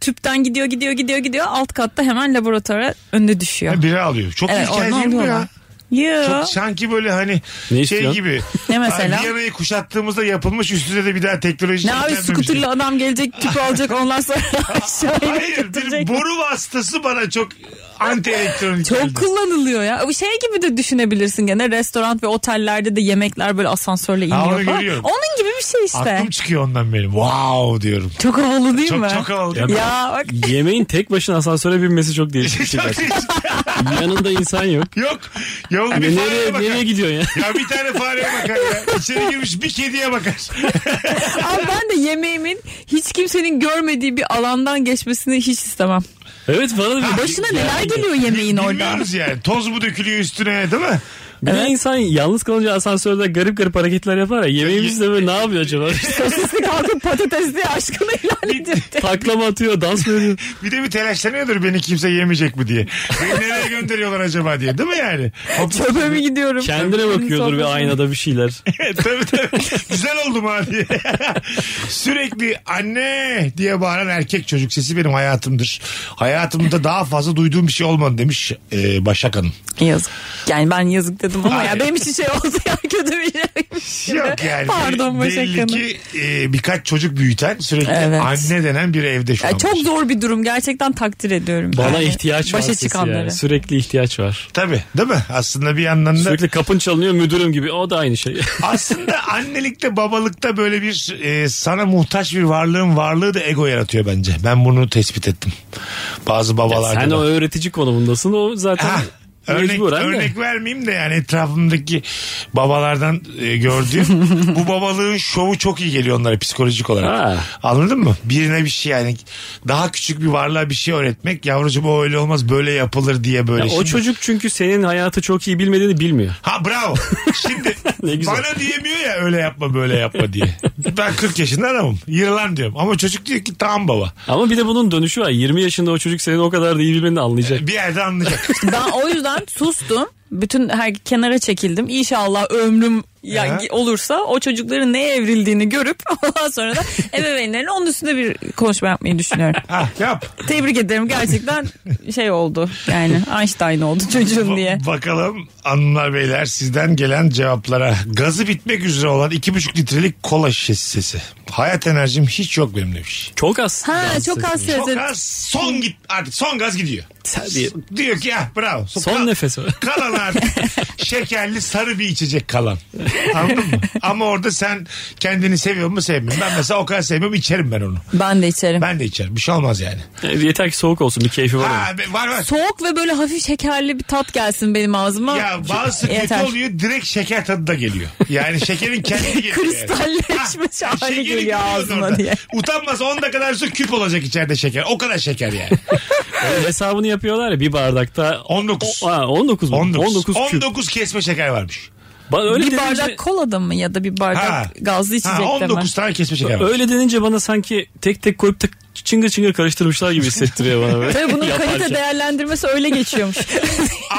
tüpten gidiyor gidiyor gidiyor gidiyor alt katta hemen laboratuvara önüne düşüyor.
Ha, Biri alıyor. Çok
Evet,
ilkel
onu
değil mi bu ya?
alıyorlar. Yo.
Çok sanki böyle hani
Ne
şey
istiyorsun?
gibi.
Ne mesela?
Abi Viyana'yı kuşattığımda yapılmış üstüne de bir şey daha teknoloji
Ne abi
yüklenmemiş.
skuterli adam gelecek tüp alacak ondan sonra aşağıya
Hayır bir
götürecek.
boru vasıtası bana çok anti elektronik
Çok
geldi.
kullanılıyor ya. Bu şey gibi de düşünebilirsin gene restoran ve otellerde de yemekler böyle asansörle iniyor.
onu
falan.
görüyorum.
Onun gibi bir şey işte.
Aklım çıkıyor ondan benim. Wow diyorum.
Çok havalı değil
Çok-
mi?
çok havalı. Ya
Ya bak
Yemeğin tek başına asansöre binmesi çok değişik bir şey.
Çok
bak.
iyi.
Yanında insan yok.
yok. Yok
Ya
bir fareye
nereye,
bakar.
nereye gidiyorsun ya?
Ya bir tane fareye bakar ya. İçeri girmiş bir kediye bakar.
abi ben de yemeğimin hiç kimsenin görmediği bir alandan geçmesini hiç istemem.
Evet bana da
Ah,
bir
Başına neler geliyor yemeğin orada?
Bilmiyoruz yani. Toz mu dökülüyor üstüne değil mi?
Bir de insan yalnız kalınca asansörde garip garip hareketler yapar ya. Yemeğimiz de böyle ne yapıyor acaba?
Sosisli kalkıp patatesli aşkına ilan ediyor.
Taklama atıyor, dans mı ediyor?
Bir de bir telaşlanıyordur beni kimse yemeyecek mi diye. Beni nereye gönderiyorlar acaba diye değil mi yani? Hop,
Çöpe mi gidiyorum?
Kendine bakıyordur bir aynada bir şeyler.
tabii tabii. Güzel oldum ha diye. Sürekli anne diye bağıran erkek çocuk sesi benim hayatımdır. Hayatımda daha fazla duyduğum bir şey olmadı demiş e, Başak Hanım.
Yazık. Yani ben yazık dedim ama
Hayır.
ya benim için şey oldu ya kötü bir şey.
Yok yani.
Pardon Başak
Belli
Hanım.
ki e, birkaç çocuk büyüten sürekli
Evet.
anne denen bir evde şu an.
Ya çok zor bir durum gerçekten takdir ediyorum.
Bana
Yani
ihtiyaç var
Başa
sesi
çıkanları.
yani. Sürekli ihtiyaç var.
Tabii değil mi? Aslında bir yandan da
Sürekli kapın çalınıyor müdürüm gibi. O da aynı şey.
aslında annelikte babalıkta böyle bir e, sana muhtaç bir varlığın varlığı da ego yaratıyor bence. Ben bunu tespit ettim. Bazı babalarda
Sen
da.
o öğretici konumundasın. O zaten
Ha, Örnek,
mecburen de.
Ah, örnek vermeyeyim de yani etrafımdaki babalardan e, gördüğüm bu babalığın şovu çok iyi geliyor onlara psikolojik olarak.
Ha.
Anladın mı? Birine bir şey yani daha küçük bir varlığa bir şey öğretmek yavrucuğum o öyle olmaz böyle yapılır diye böyle.
Ya o
Şimdi-
çocuk çünkü senin hayatı çok iyi bilmediğini bilmiyor.
Ha bravo. Şimdi
Ne güzel.
bana diyemiyor ya öyle yapma böyle yapma diye. Ben 40 yaşında adamım. Yırılan diyorum. Ama çocuk diyor ki tamam baba.
Ama bir de bunun dönüşü var. 20 yaşında o çocuk senin o kadar da iyi bilmediğini anlayacak.
Bir yerde anlayacak.
Ben o yüzden sustum. Bütün her kenara çekildim. İnşallah ömrüm ya-
Aha.
olursa o çocukların neye evrildiğini görüp ondan sonra da ebeveynlerine onun üstünde bir konuşma yapmayı düşünüyorum.
Ha yap.
Tebrik ederim gerçekten şey oldu yani Einstein oldu çocuğum diye.
Ba- Bakalım hanımlar beyler sizden gelen cevaplara. Gazı bitmek üzere olan 2,5 litrelik kola şişesi sesi. Hayat enerjim hiç yok benim demiş.
Çok az.
Ha
dans
çok
sesi.
az
Çok
sesi.
gaz son git artık son gaz gidiyor.
Tabii.
Diyor ki ya bravo.
Son
Kal-
nefes o.
Kalan artık şekerli sarı bir içecek kalan. Anladın mı? Ama orada sen kendini seviyor mu sevmiyor mu? Ben mesela o kadar sevmiyorum içerim ben onu.
Ben de içerim.
Ben de içerim. Bir şey olmaz yani.
E, Yeter ki soğuk olsun bir keyfi var.
Ha,
onun.
be- var var.
Soğuk ve böyle hafif şekerli bir tat gelsin benim ağzıma.
Ya bazı kötü
Yeter.
oluyor direkt şeker tadı da geliyor. Yani şekerin kendi geliyor. yani.
Kristalleşmiş
Ha,
hali
şekerin
geliyor
geliyor
ağzıma
orada.
diye.
Utanmasa 10 dakika su küp olacak içeride şeker. O kadar şeker yani.
Öyle hesabını yapıyorlar ya bir bardakta.
19.
O- ha, 19 mu?
19. 19,
19 küp.
kesme şeker varmış.
Ba- öyle
bir
denince-
bardak kolada mı ya da bir bardak
Ha.
gazlı içecek
Ha,
de mi?
19 tane kesme şeker varmış.
Öyle denince bana sanki tek tek koyup da çıngır çıngır karıştırmışlar gibi hissettiriyor bana. Böyle.
Tabii bunun
Yaparken.
kalite değerlendirmesi öyle geçiyormuş.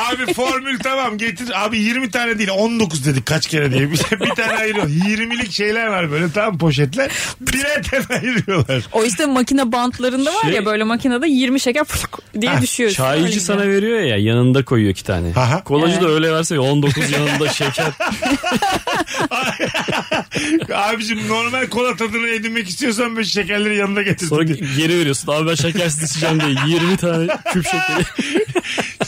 Abi formül tamam getir. Abi 20 tane değil 19 dedik kaç kere diye. Bir, bir tane ayırıyor. 20'lik şeyler var böyle tam poşetler. Birer tane ayırıyorlar.
o işte makine bantlarında var
Şey-
ya böyle makinede 20 şeker fırk diye
Ha,
düşüyor. Öyle
Çaycı
gibi.
sana veriyor ya yanında koyuyor iki tane.
Aha.
Kolacı da öyle verse 19 yanında şeker.
Abicim normal kola tadını edinmek istiyorsan böyle şekerleri yanında getir.
Sonra geri veriyorsun. Abi ben şekersiz içeceğim diye 20 tane küp şekeri.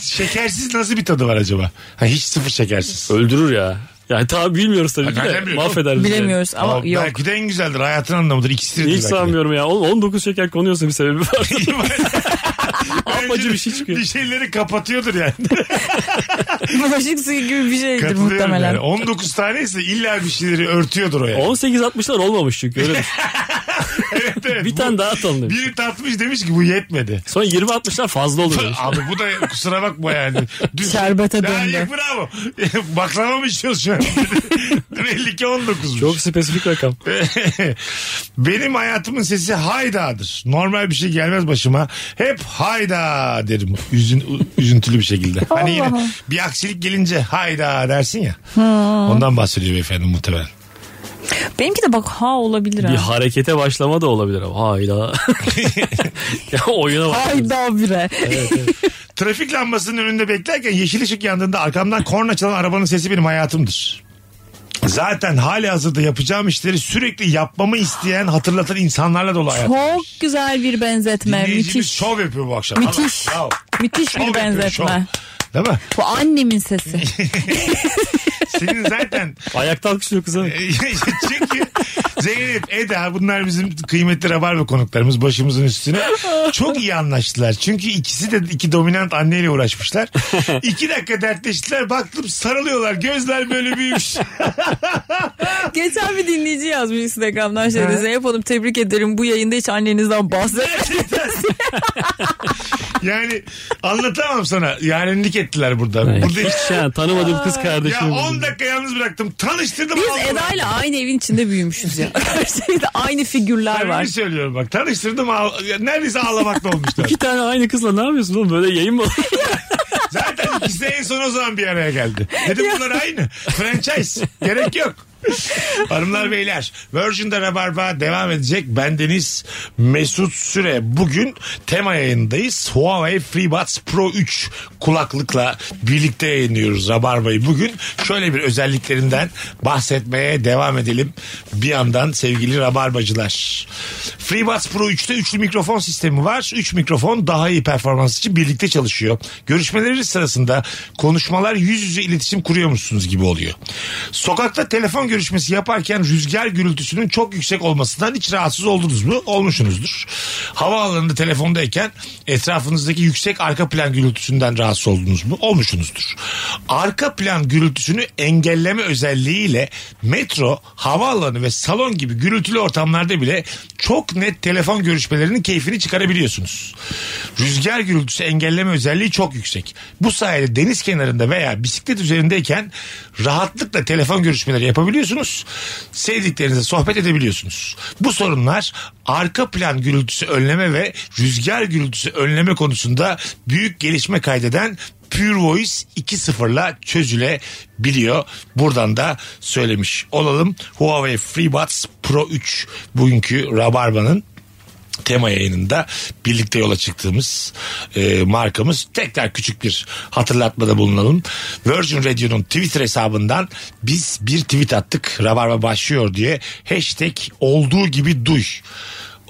Şekersiz nasıl bir tadı var acaba? Ha, hiç sıfır şekersiz.
Öldürür ya. Yani tabi bilmiyoruz tabii ki
Ha, nereden
de.
biliyorsun?
Mahveder bizi.
Bilemiyoruz ama
Ama
yok.
Belki de en güzeldir. Hayatın anlamıdır. İkisidir.
Hiç sanmıyorum ya. Oğlum 19 şeker konuyorsa bir sebebi var. Apacı bir şey çıkıyor.
Bir şeyleri kapatıyordur yani.
Bulaşık suyu gibi bir şeydir
Katılıyorum
muhtemelen.
yani. 19 tane ise illa bir şeyleri örtüyordur o yani.
18-60'lar olmamış çünkü öyle düşün.
Evet, evet.
Bir tane daha atalım demiş.
Biri tatmış demiş ki bu yetmedi.
Sonra 20-60'lar fazla olur demiş.
Abi bu da kusura bakma yani. Düz...
Şerbete
Ya,
döndü.
iyi, bravo. Baklava mı içiyoruz şu an? Belli ki 19'muş.
Çok spesifik rakam.
Benim hayatımın sesi haydadır. Normal bir şey gelmez başıma. Hep hayda derim. Üzün, üzüntülü bir şekilde. Hani yine
Allah.
bir aksilik gelince hayda dersin ya.
Hmm.
Ondan bahsediyor beyefendi muhtemelen.
Benimki de bak ha olabilir
Bir
ha.
harekete başlama da olabilir ama hayda. ya oyuna bak.
Hayda bire.
Trafik lambasının önünde beklerken yeşil ışık yandığında arkamdan korna çalan arabanın sesi benim hayatımdır. Zaten hali hazırda yapacağım işleri sürekli yapmamı isteyen hatırlatan insanlarla dolu hayatım.
Çok güzel bir benzetme.
Dinleyicimiz
Müthiş.
şov yapıyor bu akşam.
Müthiş.
Bravo.
Müthiş
Şov
bir
yapıyor,
benzetme.
şov. Değil mi?
Bu annemin sesi.
Senin zaten
Ayakta alkışlıyor kıza.
E, Çünkü Zeynep, Eda bunlar bizim kıymetli rabarba konuklarımız başımızın üstüne. Çok iyi anlaştılar. Çünkü ikisi de iki dominant anneyle uğraşmışlar. İki dakika dertleştiler baktım sarılıyorlar gözler böyle büyümüş.
Geçen bir dinleyici yazmış Instagram'dan şöyle Zeynep Hanım tebrik ederim bu yayında hiç annenizden bahsetmedim.
Yani anlatamam sana. Yarenlik ettiler burada. Burada hiç...
Hiç şey yani tanımadığım kız
Ya
kardeşim.
10 dakika yalnız bıraktım. Tanıştırdım. aldım.
Biz Eda ile aynı evin içinde büyümüşüz ya. Şeyde aynı figürler
Ben
var.
bir söylüyorum bak. Tanıştırdım. Ağ... ya Neredeyse ağlamakta olmuşlar.
İki tane aynı kızla ne yapıyorsun oğlum böyle yayın mı? olur?
Zaten ikisi en son o zaman bir araya geldi. Dedim bunlar aynı. Franchise. Gerek yok. Hanımlar beyler Virgin'de Rabarba devam edecek. Bendeniz Mesut Süre. Bugün tema yayındayız. Huawei FreeBuds Pro 3 kulaklıkla birlikte yayınlıyoruz Rabarba'yı. Bugün şöyle bir özelliklerinden bahsetmeye devam edelim. Bir yandan sevgili Rabarbacılar. FreeBuds Pro 3'te üçlü mikrofon sistemi var. 3 mikrofon daha iyi performans için birlikte çalışıyor. Görüşmeleri sırasında konuşmalar yüz yüze iletişim kuruyormuşsunuz gibi oluyor. Sokakta telefon görüşmesi yaparken rüzgar gürültüsünün çok yüksek olmasından hiç rahatsız oldunuz mu? Olmuşsunuzdur. Havaalanında telefondayken etrafınızdaki yüksek arka plan gürültüsünden rahatsız oldunuz mu? Olmuşsunuzdur. Arka plan gürültüsünü engelleme özelliğiyle metro, havaalanı ve salon gibi gürültülü ortamlarda bile çok net telefon görüşmelerinin keyfini çıkarabiliyorsunuz. Rüzgar gürültüsü engelleme özelliği çok yüksek. Bu sayede deniz kenarında veya bisiklet üzerindeyken rahatlıkla telefon görüşmeleri yapabiliyorsunuz. Sevdiklerinize sohbet edebiliyorsunuz. Bu sorunlar arka plan gürültüsü önleme ve rüzgar gürültüsü önleme konusunda büyük gelişme kaydeden Pure Voice 2.0'la çözülebiliyor. Buradan da söylemiş olalım. Huawei FreeBuds Pro 3 bugünkü Rabarba'nın tema yayınında birlikte yola çıktığımız e, markamız. Tekrar küçük bir hatırlatmada bulunalım. Virgin Radio'nun Twitter hesabından biz bir tweet attık. Rabarba başlıyor diye. Hashtag olduğu gibi duy.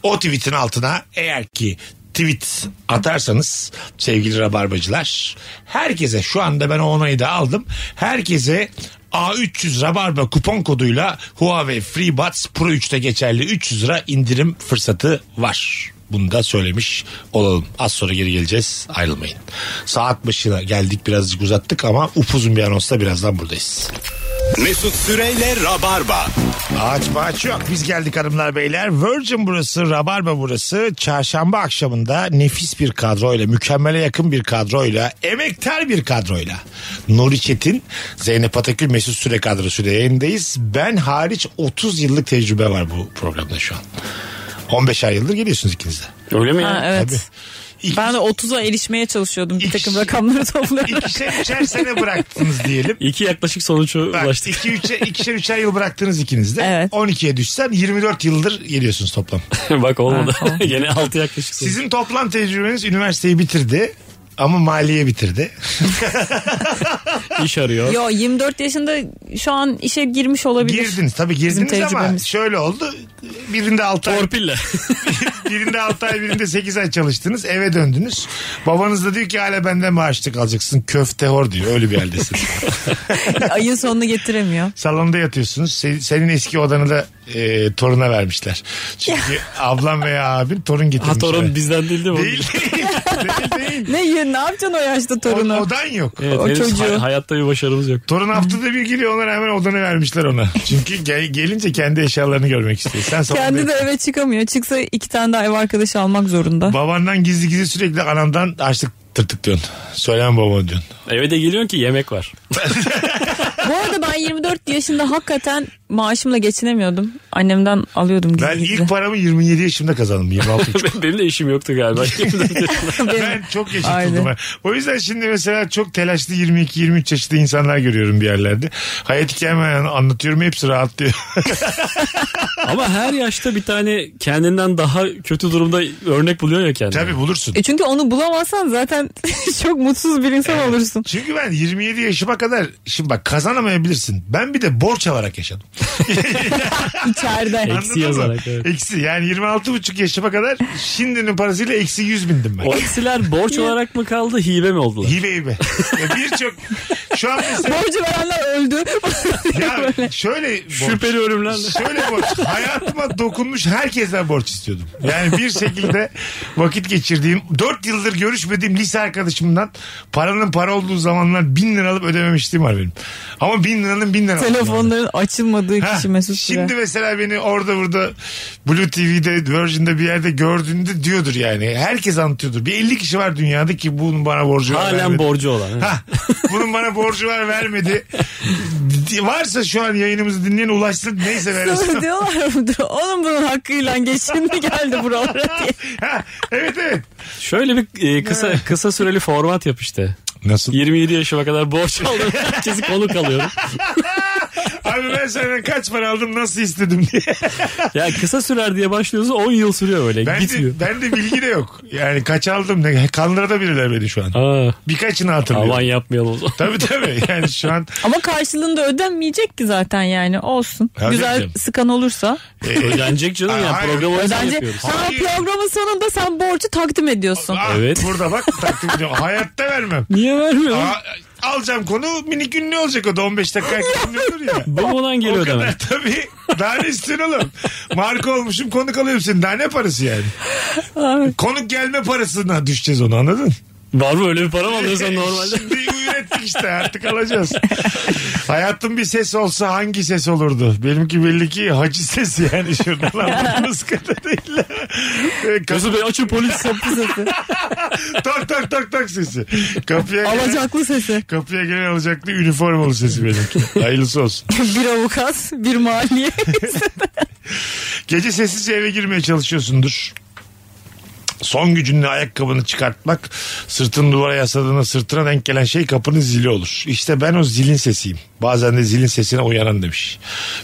O tweetin altına eğer ki tweet atarsanız sevgili rabarbacılar herkese şu anda ben o onayı da aldım. Herkese A300 Rabarba kupon koduyla Huawei FreeBuds Pro 3'te geçerli 300 lira indirim fırsatı var. Bunu da söylemiş olalım. Az sonra geri geleceğiz. Ayrılmayın. Saat başına geldik birazcık uzattık ama upuzun bir anonsla birazdan buradayız.
Mesut Süreyle Rabarba.
Ağaç bağaç yok. Biz geldik hanımlar beyler. Virgin burası, Rabarba burası. Çarşamba akşamında nefis bir kadroyla, mükemmele yakın bir kadroyla, emektar bir kadroyla. Nuri Çetin, Zeynep Atakül, Mesut Süre kadrosuyla yayındayız. Ben hariç 30 yıllık tecrübe var bu programda şu an. 15'er yıldır geliyorsunuz ikiniz de.
Öyle mi
Ha,
ya?
evet.
Tabii. İki-
Ben de 30'a erişmeye çalışıyordum. Bir takım
İkisi-
rakamları toplayarak.
İkişer üçer sene bıraktınız diyelim.
İki yaklaşık sonuca
Bak,
ulaştık.
iki, üçe, ikişer üçer yıl bıraktınız ikiniz de.
Evet.
12'ye düşsen 24 yıldır geliyorsunuz toplam.
Bak olmadı. Yine altı yaklaşık sonuç.
Sizin toplam tecrübeniz üniversiteyi bitirdi ama maliye bitirdi.
İş arıyor.
Yo 24 yaşında şu an işe girmiş olabilir.
Girdiniz tabii girdiniz ama
tecrübemiz.
şöyle oldu. Birinde 6 ay,
Torpille.
birinde 6 ay, birinde 8 ay çalıştınız. Eve döndünüz. Babanız da diyor ki hala benden maaşlık alacaksın. Köfte hor diyor. Öyle bir haldesin.
Ayın sonunu getiremiyor.
Salonda yatıyorsunuz. Se- Senin eski odanı da e, toruna vermişler. Çünkü ablam veya abin torun getirmiş.
ha torun
eve.
bizden değil değil mi?
Değil değil. değil, değil.
Ne ye- ne yapacaksın o yaşta
O-
torunu?
odan yok.
Evet,
O
henüz
çocuğu.
hay- hayatta bir başarımız yok.
Torun haftada bir geliyor ona hemen odanı vermişler ona. Çünkü gel- gelince kendi eşyalarını görmek istiyor. Sen salonda
Kendi de eve çıkamıyor. Çıksa iki tane daha ev arkadaşı almak zorunda.
Babandan gizli gizli sürekli anamdan açlık tırtık diyorsun. Söyleme babama diyorsun.
Eve de geliyorsun ki yemek var.
Bu arada ben 24 yaşında hakikaten maaşımla geçinemiyordum. Annemden alıyordum
Ben
gizli
ilk
gizli.
paramı 27 yaşımda kazandım. 26
Benim de işim yoktu galiba.
ben çok yaşatıldım.
Aynen.
ha. O yüzden şimdi mesela çok telaşlı 22-23 yaşında insanlar görüyorum bir yerlerde. Hayat hikayemi anlatıyorum hepsi rahatlıyor.
Ama her yaşta bir tane kendinden daha kötü durumda örnek buluyor ya kendini.
Tabii bulursun.
E çünkü onu bulamazsan zaten çok mutsuz bir insan olursun.
Çünkü ben 27 yaşıma kadar şimdi bak kazanamayabilirsin. Ben bir de borç alarak yaşadım.
İçeride.
Anladın mı?
yazarak, evet.
Eksi yani 26,5 yaşıma kadar şimdinin parasıyla eksi 100 bindim ben.
O eksiler borç olarak mı kaldı hibe mi oldular?
Hibe hibe. Ya Birçok şu an mesela
Borcu verenler öldü.
ya şöyle borç-
Şüpheli ölümlerle.
Şöyle borç. Hayatıma dokunmuş herkesten borç istiyordum. Yani bir şekilde vakit geçirdiğim, 4 yıldır görüşmediğim lise arkadaşımdan paranın para olduğu zamanlar bin lira alıp ödememişliğim var benim. Ama bin liranın bin lira olduğu zamanlar.
Telefonların açılmadığı
Ha,
kişi Mesut Süre.
şimdi mesela beni orada burada Blue TV'de Virgin'de bir yerde gördüğünde diyordur yani. Herkes anlatıyordur. Bir 50 kişi var dünyada ki bunun bana borcu var.
Halen
vermedi.
borcu olan. evet.
Ha, bunun bana borcu var vermedi. Varsa şu an yayınımızı dinleyen ulaşsın neyse verirsin.
Sana diyorlar mıdır? Onun bunun hakkıyla geçindi geldi buralara diye.
Ha, evet evet.
Şöyle bir e, kısa kısa süreli format yap işte.
Nasıl?
27 yaşıma kadar borç aldım. Herkesi konuk alıyorum.
Abi ben senden kaç para aldım nasıl istedim diye.
E, Ya kısa sürer diye başlıyorsa 10 yıl sürüyor böyle.
Ben de,
Gitmiyor.
ben de bilgi de yok. Yani kaç aldım ne kandırabilirler beni şu an.
Aa,
Birkaçını
aman
hatırlıyorum.
yapmayalım o zaman.
Tabii tabii yani şu an
Ama karşılığında ödenmeyecek ki zaten yani olsun.
Ödenecek
Güzel
canım.
sıkan olursa.
Ödenecek canım
E,
ya.
Hayır.
Program o yüzden
Ödence.
yapıyoruz.
Ha, programın sonunda sen borcu takdim ediyorsun.
Aa,
Evet.
burada bak takdim ediyorum. Hayatta vermem.
Niye vermiyor?
Aa, alacağım konu minik ünlü olacak o da 15 dakika erken olur ya.
Bu olan
O
geliyor demek.
kadar tabii. Daha ne istiyorsun oğlum? Marka olmuşum konuk alıyorum seni. Daha ne parası yani? konuk gelme parasına düşeceğiz onu anladın?
Var mı öyle bir para mı alıyorsan normalde?
Şimdi ürettik işte artık alacağız. Hayatım bir ses olsa hangi ses olurdu? Benimki belli ki hacı sesi yani şuradan anladığımız kadarıyla. Ee, Kapı,
Mesut Bey açın polis sapı sesi.
tak tak tak tak sesi. Kapıya gelen,
Alacaklı sesi.
kapıya gelen alacaklı üniformalı sesi benimki. Hayırlısı olsun.
bir avukat, bir maliye.
Gece sessizce eve girmeye çalışıyorsundur. Son gücünle ayakkabını çıkartmak, sırtını duvara yasladığında sırtına denk gelen şey kapının zili olur. İşte ben o zilin sesiyim. Bazen de zilin sesine uyanan demiş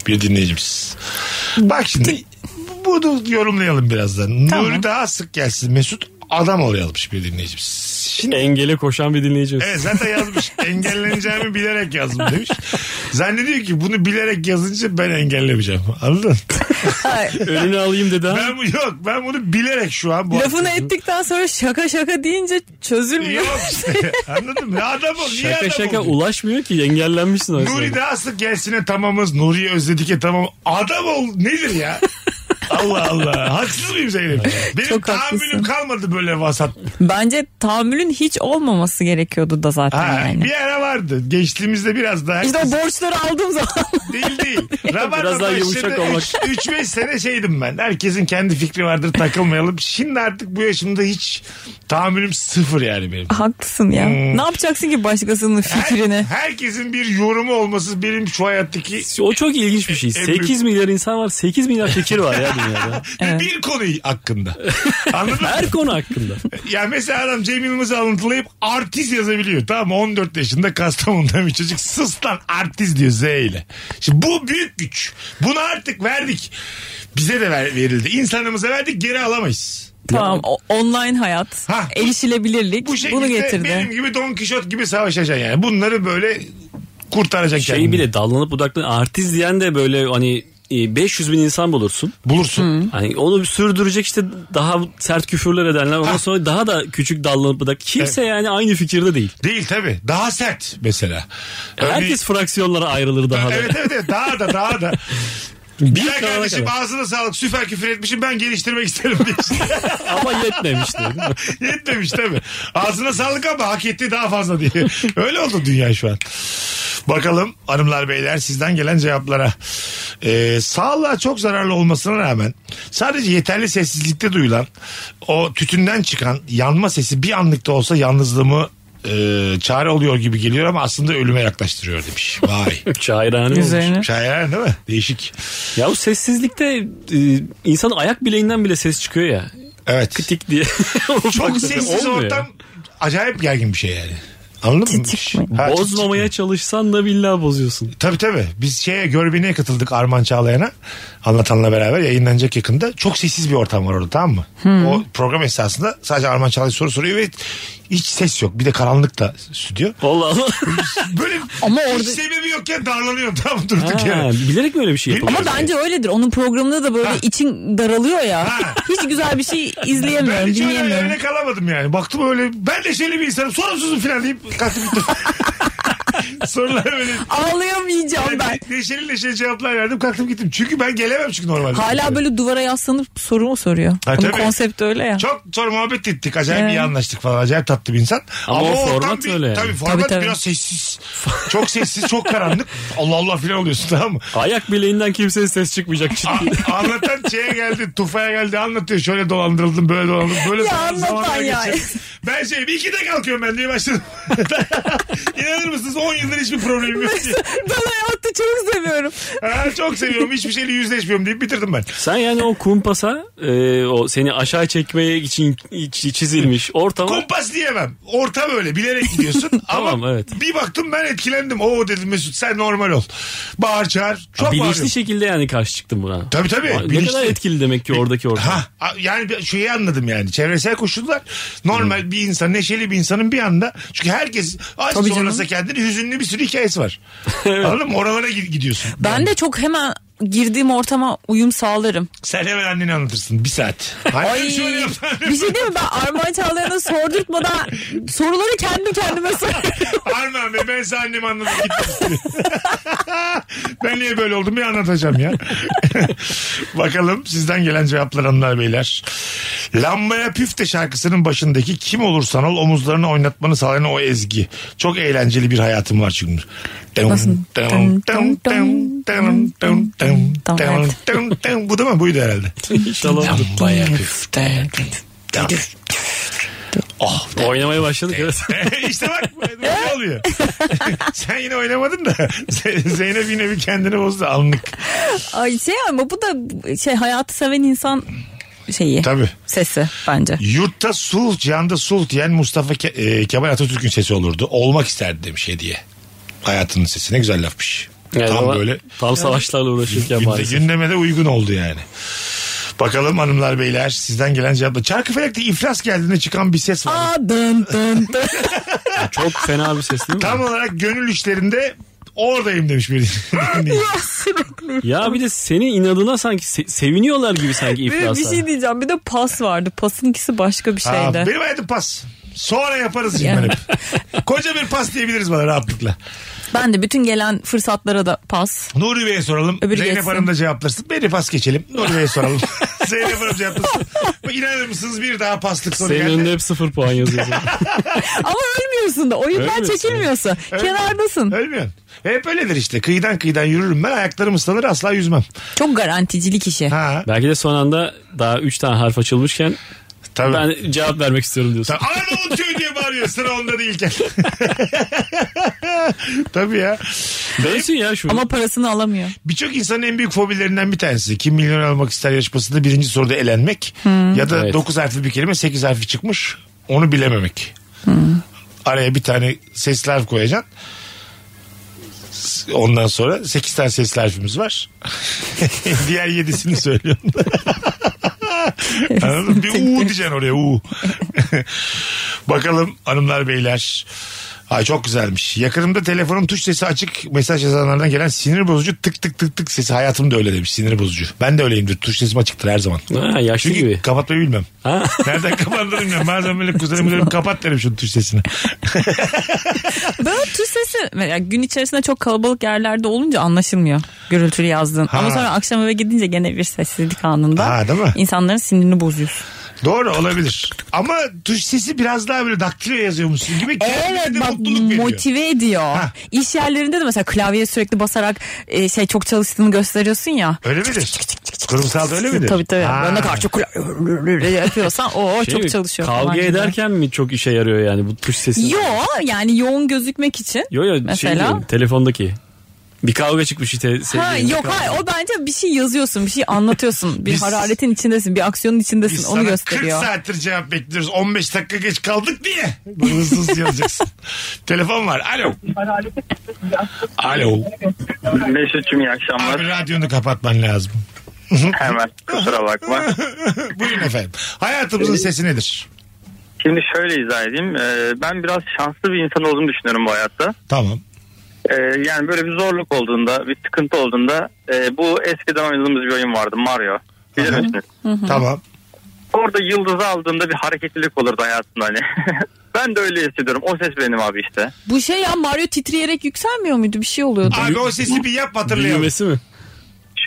bir dinleyicimiz. Bak şimdi bunu yorumlayalım birazdan. Nuri daha sık gelsin. Mesut adam olayalmış bir dinleyicimiz. Şimdi
Engele koşan bir dinleyicimiz.
Evet zaten yazmış. Engelleneceğimi bilerek yazdım demiş. Zannediyor ki bunu bilerek yazınca ben engellemeyeceğim. Anladın?
Önünü alayım dedi ha.
Ben bu yok ben bunu bilerek şu an bu
Lafını ettikten sonra şaka şaka deyince çözülmüyor.
Yok işte. Anladın mı? Adam ol. Niye
Şaka
adam
şaka
oldun?
ulaşmıyor ki engellenmişsin o
Nuri
yüzden.
daha sık gelsine tamamız. Nuri'yi özledik ya tamam. Adam ol nedir ya? Allah Allah. Haksız mıyım Zeynep? Benim
Çok
tahammülüm
haklısın.
kalmadı böyle vasat.
Bence tahammülün hiç olmaması gerekiyordu da zaten
Ha,
yani.
Bir ara vardı. Gençliğimizde biraz daha.
İşte o borçları aldığım zaman.
Değil değil. Rabarba
Biraz daha yumuşak
başında
olmak.
üç- üç beş sene şeydim ben. Herkesin kendi fikri vardır takılmayalım. Şimdi artık bu yaşımda hiç tahammülüm sıfır yani benim.
Haklısın ya.
Ee,
Ne yapacaksın ki başkasının fikrini?
Herkesin bir yorumu olması benim şu hayattaki
O çok ilginç bir şey. 8 milyar insan var. 8 milyar fikir var ya dünyada.
Ve bir konu hakkında. Anladın mı?
Her konu hakkında.
Yani mesela adam Cem Yılmaz'ı alıntılayıp artist yazabiliyor. Tamam mı? 14 yaşında Kastamonu'da bir çocuk sus lan artist diyor Z ile. Şimdi bu büyük güç. Bunu artık verdik. Bize de ver- verildi. İnsanımıza verdik geri alamayız.
Tamam o- online hayat,
Ha.
erişilebilirlik
Bu şekilde
bunu getirdi.
benim gibi Don Kişot gibi savaşacaksın yani. Bunları böyle kurtaracaksın
Şeyi
kendini.
Şey bile dallanıp budaklanıp artist diyen de böyle hani e, 500 bin insan bulursun.
Bulursun.
Hani onu sürdürecek işte daha sert küfürler edenler. Ondan sonra daha da küçük dallanıp budak. Kimse yani aynı fikirde değil.
Değil tabii. Daha sert mesela.
Herkes fraksiyonlara ayrılır daha da.
Evet evet evet daha da daha da.
Bir
Ya
kanala
kardeşim
kadar.
ağzına sağlık süper küfür etmişim ben geliştirmek isterim diye.
Ama yetmemişti.
Yetmemiş tabii. Ağzına sağlık ama hak ettiği daha fazla diye. Öyle oldu dünya şu an. Bakalım hanımlar beyler sizden gelen cevaplara. Ee, sağlığa çok zararlı olmasına rağmen sadece yeterli sessizlikte duyulan o tütünden çıkan yanma sesi bir anlık da olsa yalnızlığımı e, e, çare oluyor gibi geliyor ama aslında ölüme yaklaştırıyor demiş. Vay.
Şairane olmuş.
Üzerine.
Şair değil mi? Değişik.
Ya bu sessizlikte e, insan ayak bileğinden bile ses çıkıyor ya.
Evet.
Kıtik diye.
Çok sessiz
Olmuyor.
ortam acayip gergin bir şey yani. Anladın mı?
Titik mi?
Ha, titik.
Bozmamaya çalışsan da billahi bozuyorsun.
Tabii tabii. Biz şeye Görbine'ye katıldık Arman Çağlayan'a. Anlatanla beraber yayınlanacak yakında. Çok sessiz bir ortam var orada tamam mı?
Hmm.
O program esnasında sadece Arman Çağlayan soru soruyor ve hiç ses yok. Bir de karanlık da stüdyo.
Allah Allah.
Böyle
Ama
hiç
orada-
sebebi yokken darlanıyorum tamam mı? durduk
Ha,
yere.
bilerek mi öyle bir şey
Bilmiyorum.
yapılıyor?
Ama bence öyledir. Onun programında da böyle için daralıyor ya.
Ha.
Hiç güzel bir şey izleyemiyorum,
Ben hiç öyle
dinleyemiyorum.
örnek alamadım yani. Baktım öyle ben de şeyli bir insanım sorumsuzum falan deyip kalktım gittim. Sorular böyle
Ağlayamayacağım ben.
Neşeli neşeli cevaplar verdim kalktım gittim. Çünkü ben gelemem çünkü normalde.
Hala böyle duvara yaslanıp soru mu soruyor?
Ha,
Onun
tabii.
konsepti öyle ya.
Çok sonra muhabbet ettik. Acayip
Evet.
iyi anlaştık falan. Acayip tatlı bir insan.
Ama o
ortam
format
bir-
öyle yani.
Tabii format
Tabii, tabii.
biraz sessiz. çok sessiz, çok karanlık. Allah Allah filan oluyorsun tamam mı?
Ayak bileğinden kimseye ses çıkmayacak ciddi.
A- anlatan şeye geldi, tufaya geldi anlatıyor. Şöyle dolandırıldım, böyle dolandırıldım. Böyle
Ya
zaman-
anlatan
zamanlar
ya.
geçecek. Ben şey, bir ikide kalkıyorum ben diye başladım. İnanır mısınız 10 yıldır hiçbir problemim yok. diye.
ben hayatta çok seviyorum.
Ha, çok seviyorum, hiçbir şeyle yüzleşmiyorum deyip bitirdim ben.
Sen yani o kumpasa e, o seni aşağı çekmeye için ç- çizilmiş ortama
Kumpas diyemem. Ortam öyle. Bilerek gidiyorsun. ama
Tamam, evet.
bir baktım ben etkilendim. Oo dedim Mesut sen normal ol. Bağır çağır. Çok
bilinçli
bağırıyorum.
şekilde yani karşı çıktın buna.
Tabii tabii.
Ne
bilinçli.
kadar etkili demek ki oradaki ortam.
Ha, a- yani bir- şeyi anladım yani. Çevresel koşullar normal bir insan, neşeli bir insanın bir anda çünkü herkes az
Hmm. Tabii
zorlasa
canım.
kendini hüzünlü bir sürü hikayesi var. Anladın mı? Oralara gi- gidiyorsun.
Ben de çok hemen girdiğim ortama uyum sağlarım.
Sen hemen anneni anlatırsın. Bir saat. Annem
Ay,
şöyle yaptı, annem
bir şey değil mi? Ben Armağan Çağlayan'a sordurtmadan soruları kendim kendime soruyorum.
Armağan Bey ben size annemi anladım gittim. ben niye böyle oldum bir anlatacağım ya. Bakalım sizden gelen cevaplar hanımlar beyler. Lambaya Püfte şarkısının başındaki kim olursan ol omuzlarını oynatmanı sağlayan o ezgi. Çok eğlenceli bir hayatım var çünkü.
Nasıl?
Dın, dın, dın, dın, dın, dın, dın, dın, dın. Bu değil mi? Buydu herhalde.
İnşallah.
Lambaya Püfte. Oh
Oynamaya başladık evet.
işte bak ne oluyor. Sen yine oynamadın da Z- Zeynep yine bir kendini bozdu anlık.
Ay şey ama bu da şey hayatı seven insan şeyi.
Tabii.
Sesi bence.
Yurtta sulh, canda sulh diyen Mustafa Ke- e, Kemal Atatürk'ün sesi olurdu. Olmak isterdi demiş hediye. Hayatının sesi ne güzel lafmış.
Yani
Tam
ama
böyle
Tam savaşlarla uğraşırken
günde,
maalesef.
gündeme de uygun oldu yani. Bakalım hanımlar beyler sizden gelen cevapla. Çarkıfelek'te iflas geldiğinde çıkan bir ses var.
Aa dın dın dın.
Çok fena bir ses değil mi?
Tam olarak gönül işlerinde oradayım demiş bir dinleyici.
Ya bir de senin inadına sanki se- seviniyorlar gibi sanki
Bir,
iflasa.
bir şey diyeceğim. Bir de pas vardı. Pasın ikisi başka bir
Aa,
şeydi.
benim hayatım pas. Sonra yaparız şimdi
Yani.
hep. Koca bir pas diyebiliriz bana rahatlıkla.
Ben de bütün gelen fırsatlara da pas.
Nuri Bey'e soralım.
Öbürü
Zeynep
geçsin.
Hanım da cevaplasın. Beni pas geçelim. Nuri Bey'e soralım. Zeynep Hanım cevaplasın. Bak İnanır mısınız bir daha paslık soru
Senin
geldi.
önünde hep sıfır puan yazıyor.
Ama ölmüyorsun da. Oyundan
Ölmüyorsun.
çekilmiyorsun. Kenardasın.
Ölmüyorsun. Hep öyledir işte. Kıyıdan kıyıdan yürürüm ben. Ayaklarım ıslanır asla yüzmem.
Çok garanticilik işi.
Ha,
Belki de son anda daha 3 tane harf açılmışken
tabii.
ben cevap vermek istiyorum diyorsun.
Ta- Arnavutköy diye bağırıyor sıra onda değilken. tabii ya.
Dönsün ya şu.
Ama parasını alamıyor.
Birçok insanın en büyük fobilerinden bir tanesi. Kim milyon almak ister yarışmasında birinci soruda elenmek. Ya da
Evet.
9 harfli bir kelime 8 harfi çıkmış. Onu bilememek. Araya bir tane sesli harf koyacaksın. S- Ondan sonra 8 tane sesli harfimiz var. Diğer 7'sini söylüyorum. Anladın mı? Bir U diyeceksin oraya U. Bakalım hanımlar beyler. Ay çok güzelmiş. Yakınımda telefonun tuş sesi açık mesaj yazanlardan gelen sinir bozucu tık tık tık tık sesi hayatımda öyle demiş sinir bozucu. Ben de öyleyimdir tuş sesim açıktır her zaman.
Ha, yaşlı
Çünkü
gibi.
kapatmayı bilmem.
Ha?
Nereden kapattığını bilmem. Bazen böyle kuzenim derim kapat derim şu tuş sesini.
Ben o tuş sesi yani gün içerisinde çok kalabalık yerlerde olunca anlaşılmıyor gürültülü yazdığın.
Ha.
Ama sonra akşam eve gidince gene bir sessizlik anında
Ha, değil mi?
insanların sinirini bozuyorsun.
Doğru olabilir. Ama tuş sesi biraz daha böyle daktilo yazıyormuşsun gibi kendine
Evet
de
bak
mutluluk veriyor.
motive ediyor.
Ha.
İş yerlerinde de mesela klavyeye sürekli basarak e, şey çok çalıştığını gösteriyorsun ya.
Öyle midir? Kurumsal da öyle midir?
Tabii tabii.
Ha.
Bana karşı kula- yapıyorsan o
Şey
çok
mi,
çalışıyor. falan
Kavga
gibi.
ederken mi çok işe yarıyor yani bu tuş sesi?
Yo yani yoğun gözükmek için.
Yo yo şey
Mesela?
diyorum, telefondaki. Bir kavga çıkmış işte.
Ha
sevgilinle
yok
kavga.
hayır o bence bir şey yazıyorsun, bir şey anlatıyorsun. Bir
Biz-
hararetin içindesin, bir aksiyonun içindesin.
Biz
onu
sana
gösteriyor.
40 saattir cevap bekliyoruz. 15 dakika geç kaldık diye. Bunu hızlı hızlı yazacaksın. Telefon var. Alo. Alo.
Mesut'cum iyi
Abi
akşamlar.
radyonu kapatman lazım.
Hemen kusura bakma.
Buyurun efendim. Hayatımızın sesi nedir?
Şimdi şöyle izah edeyim. Ee, ben biraz şanslı bir insan olduğumu düşünüyorum bu hayatta.
Tamam.
Ee, yani böyle bir zorluk olduğunda, bir sıkıntı olduğunda e, bu eskiden oynadığımız bir oyun vardı Mario. Bilir
Aha.
misiniz?
Tamam.
Orada yıldızı aldığında bir hareketlilik olurdu hayatımda hani. ben de öyle hissediyorum. O ses benim abi işte.
Bu şey ya Mario titreyerek yükselmiyor muydu? Bir şey oluyordu.
Abi o sesi bir yap hatırlayalım.
Büyümesi mi?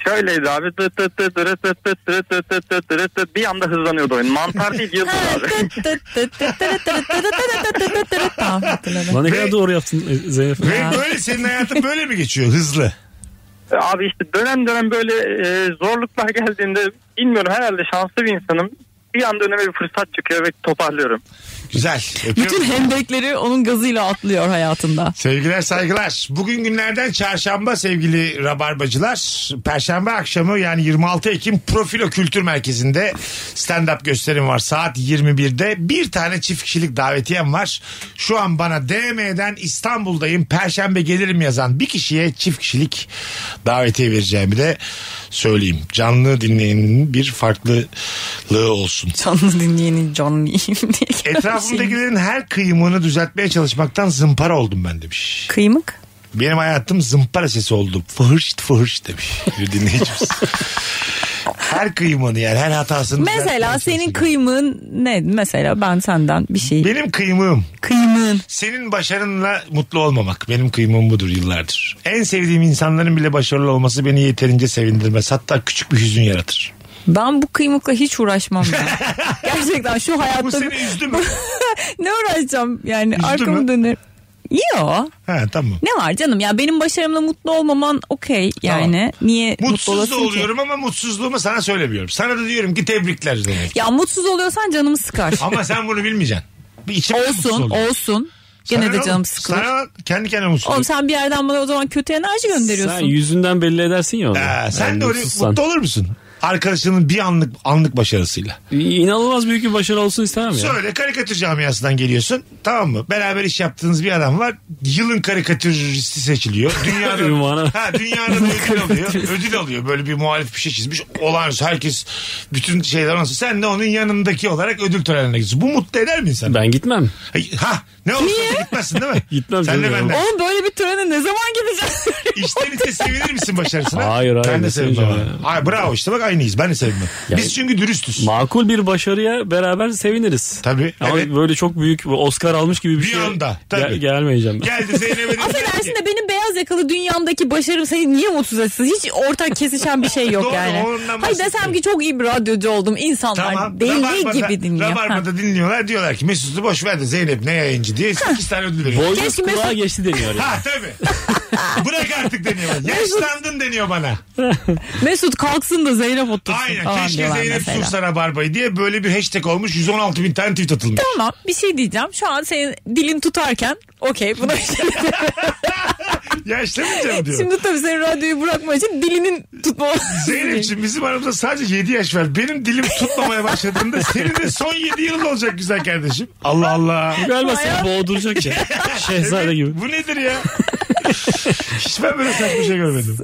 Şöyleydi abi. Tı tı tı tırı tı tı tırı tı tı tı tırı tı. Bir anda hızlanıyordu oyun. Mantar değil yıldız
Ha,
abi.
tı tı tı tı tı tı tı tı tı tı tı tı tı. Tamam, hatırladım.
Lan ne
Ve-
kadar doğru yaptın e, Zeynep.
Ve böyle senin hayatın böyle mi geçiyor? Hızlı.
Abi işte dönem dönem böyle e, zorluklar geldiğinde bilmiyorum herhalde şanslı bir insanım. Bir anda önüme bir fırsat çıkıyor ve toparlıyorum.
Güzel. Öpüyorum.
Bütün hendekleri onun gazıyla atlıyor hayatında.
Sevgiler saygılar. Bugün günlerden çarşamba sevgili rabarbacılar. Perşembe akşamı yani 26 Ekim Profilo Kültür Merkezi'nde stand-up gösterim var. Saat 21'de bir tane çift kişilik davetiyem var. Şu an bana DM'den İstanbul'dayım Perşembe gelirim yazan bir kişiye çift kişilik davetiye vereceğimi de söyleyeyim. Canlı dinleyenin bir farklılığı olsun.
Canlı dinleyenin canlıyım diye. şey.
Etrafımdakilerin her kıyımını düzeltmeye çalışmaktan zımpara oldum ben demiş.
Kıymık.
Benim hayatım zımpara sesi oldu. Fıhırşt fıhırşt demiş bir dinleyicimiz. her kıyımını yani her hatasını.
Mesela
düzeltmeye çalışıyorum.
senin kıymığın ne? Mesela ben senden bir şey.
Benim kıymığım.
Kıymığın.
Senin başarınla mutlu olmamak. Benim kıymığım budur yıllardır. En sevdiğim insanların bile başarılı olması beni yeterince sevindirmez. Hatta küçük bir hüzün yaratır.
Ben bu kıymıkla hiç uğraşmam ya. Gerçekten şu
Bu
hayatta
seni üzdü mü?
ne uğraşacağım yani
Üzdü mü?
arkamı dönerim. Yo
ha tamam.
ne var canım ya benim başarımla mutlu olmaman okey yani niye mutlu
Mutsuz da
olasın ki?
oluyorum ama mutsuzluğumu sana söylemiyorum. Sana da diyorum ki tebrikler demek.
Ya mutsuz oluyorsan canımı sıkar.
ama sen bunu bilmeyeceksin. Bir içim
olsun olsun gene de canım sıkılır.
Sana kendi kendine mutsuz
Oğlum sen bir yerden bana o zaman kötü enerji gönderiyorsun.
Sen yüzünden belli edersin ya onu.
Ee, sen
Yani
de öyle
mutsuzsan.
mutlu olur musun? Arkadaşının bir anlık anlık başarısıyla.
İnanılmaz büyük bir başarı olsun istemem ya.
Söyle karikatür camiasından geliyorsun. Tamam mı? Beraber iş yaptığınız bir adam var. Yılın karikatüristi seçiliyor. Dünyada
Ünvanı.
ha, dünyada da ödül alıyor. Ödül alıyor. Böyle bir muhalif bir şey çizmiş. Olağanüstü herkes bütün şeyler nasıl. Sen de onun yanındaki olarak ödül törenine gidiyorsun. Bu mutlu eder mi insanı?
Ben gitmem.
Ay, Ha ne olursa olsun gitmezsin değil mi?
Gitmem
Sen de
canım ya.
benden.
Oğlum böyle bir törene ne zaman gideceğiz?
İşten içe sevinir misin başarısına?
Hayır, hayır,
Ben de
ne
sevinmem.
sevineceğim
abi. Ay, bravo işte bak aynıyız. Ben de sevinmem. Biz çünkü dürüstüz.
Makul bir başarıya beraber seviniriz.
Tabii,
Ama
evet.
böyle çok büyük Oscar almış gibi bir,
Bir
şey.
anda, tabii.
Gel- gelmeyeceğim. ben.
Geldi Zeynep'e de-
Affedersin de benim beyaz yakalı dünyamdaki başarım seni niye mutsuz etsin? Hiç ortak kesişen bir şey yok
Doğru,
yani.
ondan
Hayır
bahsetmiyorum.
desem ki çok iyi bir radyocu oldum. İnsanlar deli
Rabarba'da-
gibi dinliyor. Ha.
Rabarba'da dinliyorlar. Diyorlar ki Mesut'u boş ver de Zeynep ne yayıncı diye 8 tane ödül veriyor.
Boynuz
Keşke
kulağa
mesela-
geçti deniyor. ya.
Ha tabii. Bırak artık deniyor bana. Yaşlandın deniyor bana.
Mesut kalksın da Zeynep otursun
Aynen.
falan
Keşke
diyorlar
Zeynep
mesela.
sursa Rabarba'yı diye böyle bir hashtag olmuş. 116 bin tane tweet atılmış.
Tamam bir şey diyeceğim. Şu an senin dilin tutarken okey buna bir şey
Yaşlamayacağım diyor.
Şimdi tabii senin radyoyu bırakman için dilinin tutma.
Zeynep'ciğim bizim aramızda sadece 7 yaş var. Benim dilim tutmamaya başladığında senin de son 7 yılın olacak güzel kardeşim. Allah Allah.
Galiba seni boğduracak ya. Şehzade gibi.
Bu nedir ya? Hiç ben böyle saçma şey görmedim.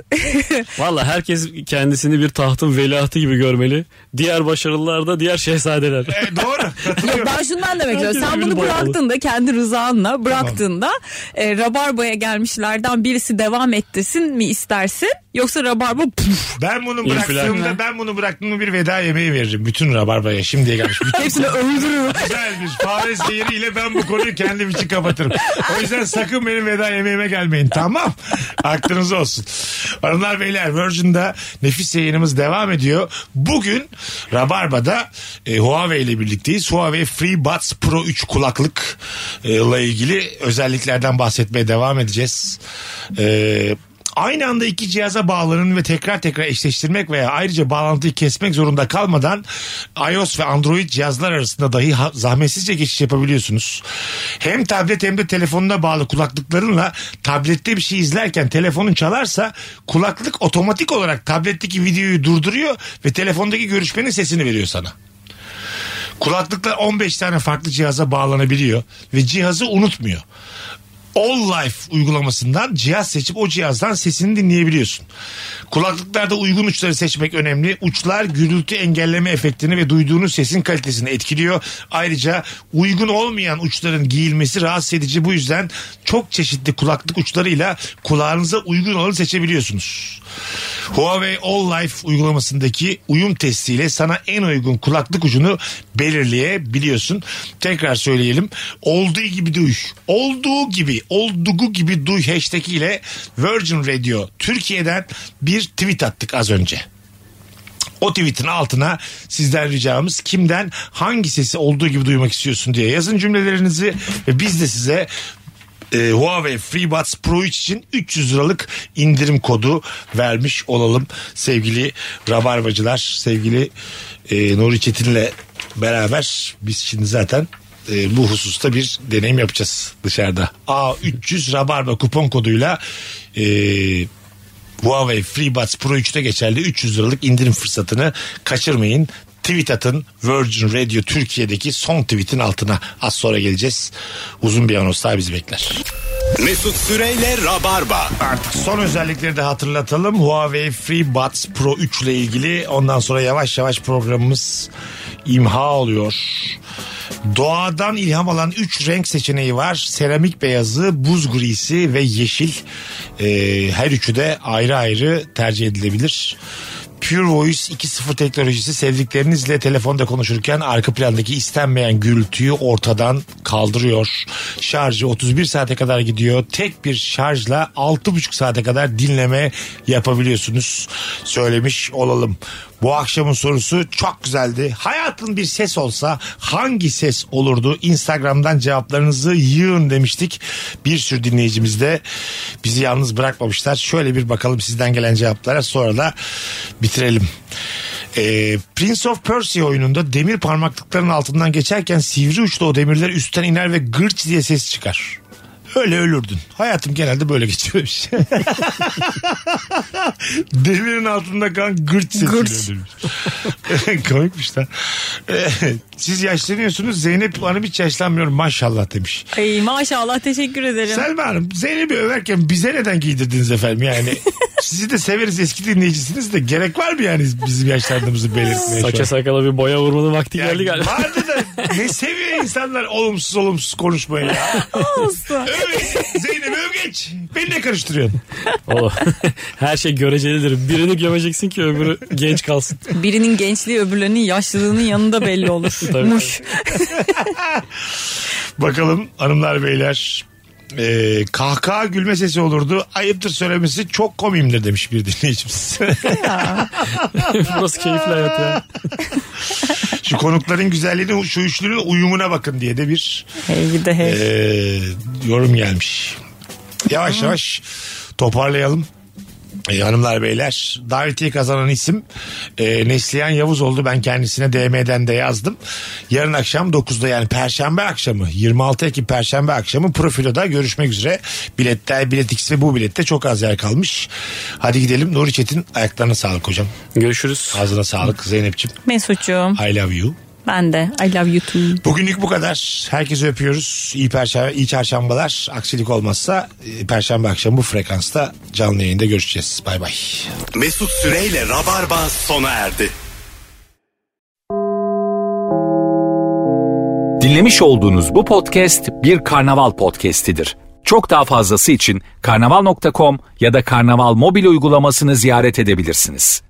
Valla herkes kendisini bir tahtın veliahtı gibi görmeli. Diğer başarılılar da diğer şehzadeler.
E, doğru. Katılıyorum.
Yok ben şundan demek istiyorum. Sen
birbirini
bunu
boyalı.
bıraktığında kendi rızanla bıraktığında e, Rabarba'ya gelmişlerden birisi devam ettirsin mi istersin? Yoksa Rabarba puf,
Ben bunu
İnfilak.
bıraktığımda ben bunu bıraktığımda bir veda yemeği veririm. Bütün rabarbaya şimdiye gelmiş. Bütün
hepsini öldürür.
güzel bir fare zehiriyle ben bu konuyu kendim için kapatırım. O yüzden sakın benim veda yemeğime gelmeyin. Tamam. Aklınız olsun. Hanımlar beyler Virgin'da nefis yayınımız devam ediyor. Bugün Rabarba'da e, Huawei ile birlikteyiz. Huawei FreeBuds Pro 3 kulaklık e, ile ilgili özelliklerden bahsetmeye devam edeceğiz. E, aynı anda iki cihaza bağlanın ve tekrar tekrar eşleştirmek veya ayrıca bağlantıyı kesmek zorunda kalmadan iOS ve Android cihazlar arasında dahi ha- zahmetsizce geçiş yapabiliyorsunuz. Hem tablet hem de telefonuna bağlı kulaklıklarınla tablette bir şey izlerken telefonun çalarsa kulaklık otomatik olarak tabletteki videoyu durduruyor ve telefondaki görüşmenin sesini veriyor sana. Kulaklıklar 15 tane farklı cihaza bağlanabiliyor ve cihazı unutmuyor. All Life uygulamasından cihaz seçip o cihazdan sesini dinleyebiliyorsun. Kulaklıklarda uygun uçları seçmek önemli. Uçlar gürültü engelleme efektini ve duyduğunuz sesin kalitesini etkiliyor. Ayrıca uygun olmayan uçların giyilmesi rahatsız edici. Bu yüzden çok çeşitli kulaklık uçlarıyla kulağınıza uygun olanı seçebiliyorsunuz. Huawei All Life uygulamasındaki uyum testiyle sana en uygun kulaklık ucunu belirleyebiliyorsun. Tekrar söyleyelim. Olduğu gibi duy. Olduğu gibi, olduğu gibi duy hashtag ile Virgin Radio Türkiye'den bir tweet attık az önce. O tweetin altına sizden ricamız kimden hangi sesi olduğu gibi duymak istiyorsun diye yazın cümlelerinizi ve biz de size e, Huawei FreeBuds Pro 3 için 300 liralık indirim kodu vermiş olalım sevgili rabarbacılar sevgili e, Nuri Çetin'le beraber biz şimdi zaten e, bu hususta bir deneyim yapacağız dışarıda. A300 rabarba kupon koduyla e, Huawei FreeBuds Pro 3'te geçerli 300 liralık indirim fırsatını kaçırmayın. Tweet atın Virgin Radio Türkiye'deki son tweetin altına. Az sonra geleceğiz. Uzun bir anons daha bizi bekler.
Mesut Süreyle Rabarba.
Artık son özellikleri de hatırlatalım. Huawei FreeBuds Pro 3 ile ilgili. Ondan sonra yavaş yavaş programımız imha oluyor. Doğadan ilham alan 3 renk seçeneği var. Seramik beyazı, buz grisi ve yeşil. Ee, her üçü de ayrı ayrı tercih edilebilir. Pure Voice 2.0 teknolojisi sevdiklerinizle telefonda konuşurken arka plandaki istenmeyen gürültüyü ortadan kaldırıyor. Şarjı 31 saate kadar gidiyor. Tek bir şarjla 6.5 saate kadar dinleme yapabiliyorsunuz. Söylemiş olalım. Bu akşamın sorusu çok güzeldi. Hayatın bir ses olsa hangi ses olurdu? Instagram'dan cevaplarınızı yığın demiştik. Bir sürü dinleyicimiz de bizi yalnız bırakmamışlar. Şöyle bir bakalım sizden gelen cevaplara sonra da bitirelim. Ee, Prince of Persia oyununda demir parmaklıkların altından geçerken sivri uçlu o demirler üstten iner ve gırç diye ses çıkar. Öyle ölürdün. Hayatım genelde böyle geçiyormuş. Demirin altında kan gırç sesi
Gırç.
geliyor demiş. Komikmiş lan. Ee, siz yaşlanıyorsunuz. Zeynep Hanım hiç yaşlanmıyorum maşallah demiş.
Ay maşallah teşekkür ederim.
Selma Hanım Zeynep'i överken bize neden giydirdiniz efendim yani? Sizi de severiz eski dinleyicisiniz de gerek var mı yani bizim yaşlandığımızı belirtmeye? şu an?
Saça sakala bir boya vurmanın vakti
Yani
geldi galiba.
Vardı da ne seviyor insanlar olumsuz olumsuz konuşmayı ya.
Olsun.
Öv- Zeynep Övgeç beni ne karıştırıyorsun?
O- Oh. Her şey görecelidir. Birini gömeceksin ki öbürü genç kalsın.
Birinin gençliği öbürlerinin yaşlılığının yanında belli olur.
Tabii.
Muş.
Bakalım hanımlar beyler ee, kahkaha gülme sesi olurdu. Ayıptır söylemesi çok komimdir demiş bir dinleyicimiz.
Burası keyifli hayat ya.
şu konukların güzelliğini şu üçlünün uyumuna bakın diye de bir
Hey gidi hey.
Ee, yorum gelmiş. Yavaş yavaş toparlayalım. Ee, hanımlar beyler davetiye kazanan isim e, Neslihan Yavuz oldu. Ben kendisine DM'den de yazdım. Yarın akşam 9'da yani Perşembe akşamı 26 Ekim Perşembe akşamı profiloda görüşmek üzere. Biletler, bilet X ve bu bilette çok az yer kalmış. Hadi gidelim Nuri Çetin ayaklarına sağlık hocam.
Görüşürüz.
Ağzına sağlık Zeynep'ciğim.
Mesut'cuğum
I love you.
ben de I love you too.
Bugünlük bu kadar. Herkesi öpüyoruz. İyi, perşembe, iyi çarşambalar. Aksilik olmazsa e, perşembe akşamı bu frekansta canlı yayında görüşeceğiz. Bay bay.
Mesut Süreyle Rabarba sona erdi.
Dinlemiş olduğunuz bu podcast bir karnaval podcastidir. Çok daha fazlası için karnaval.com ya da karnaval mobil uygulamasını ziyaret edebilirsiniz.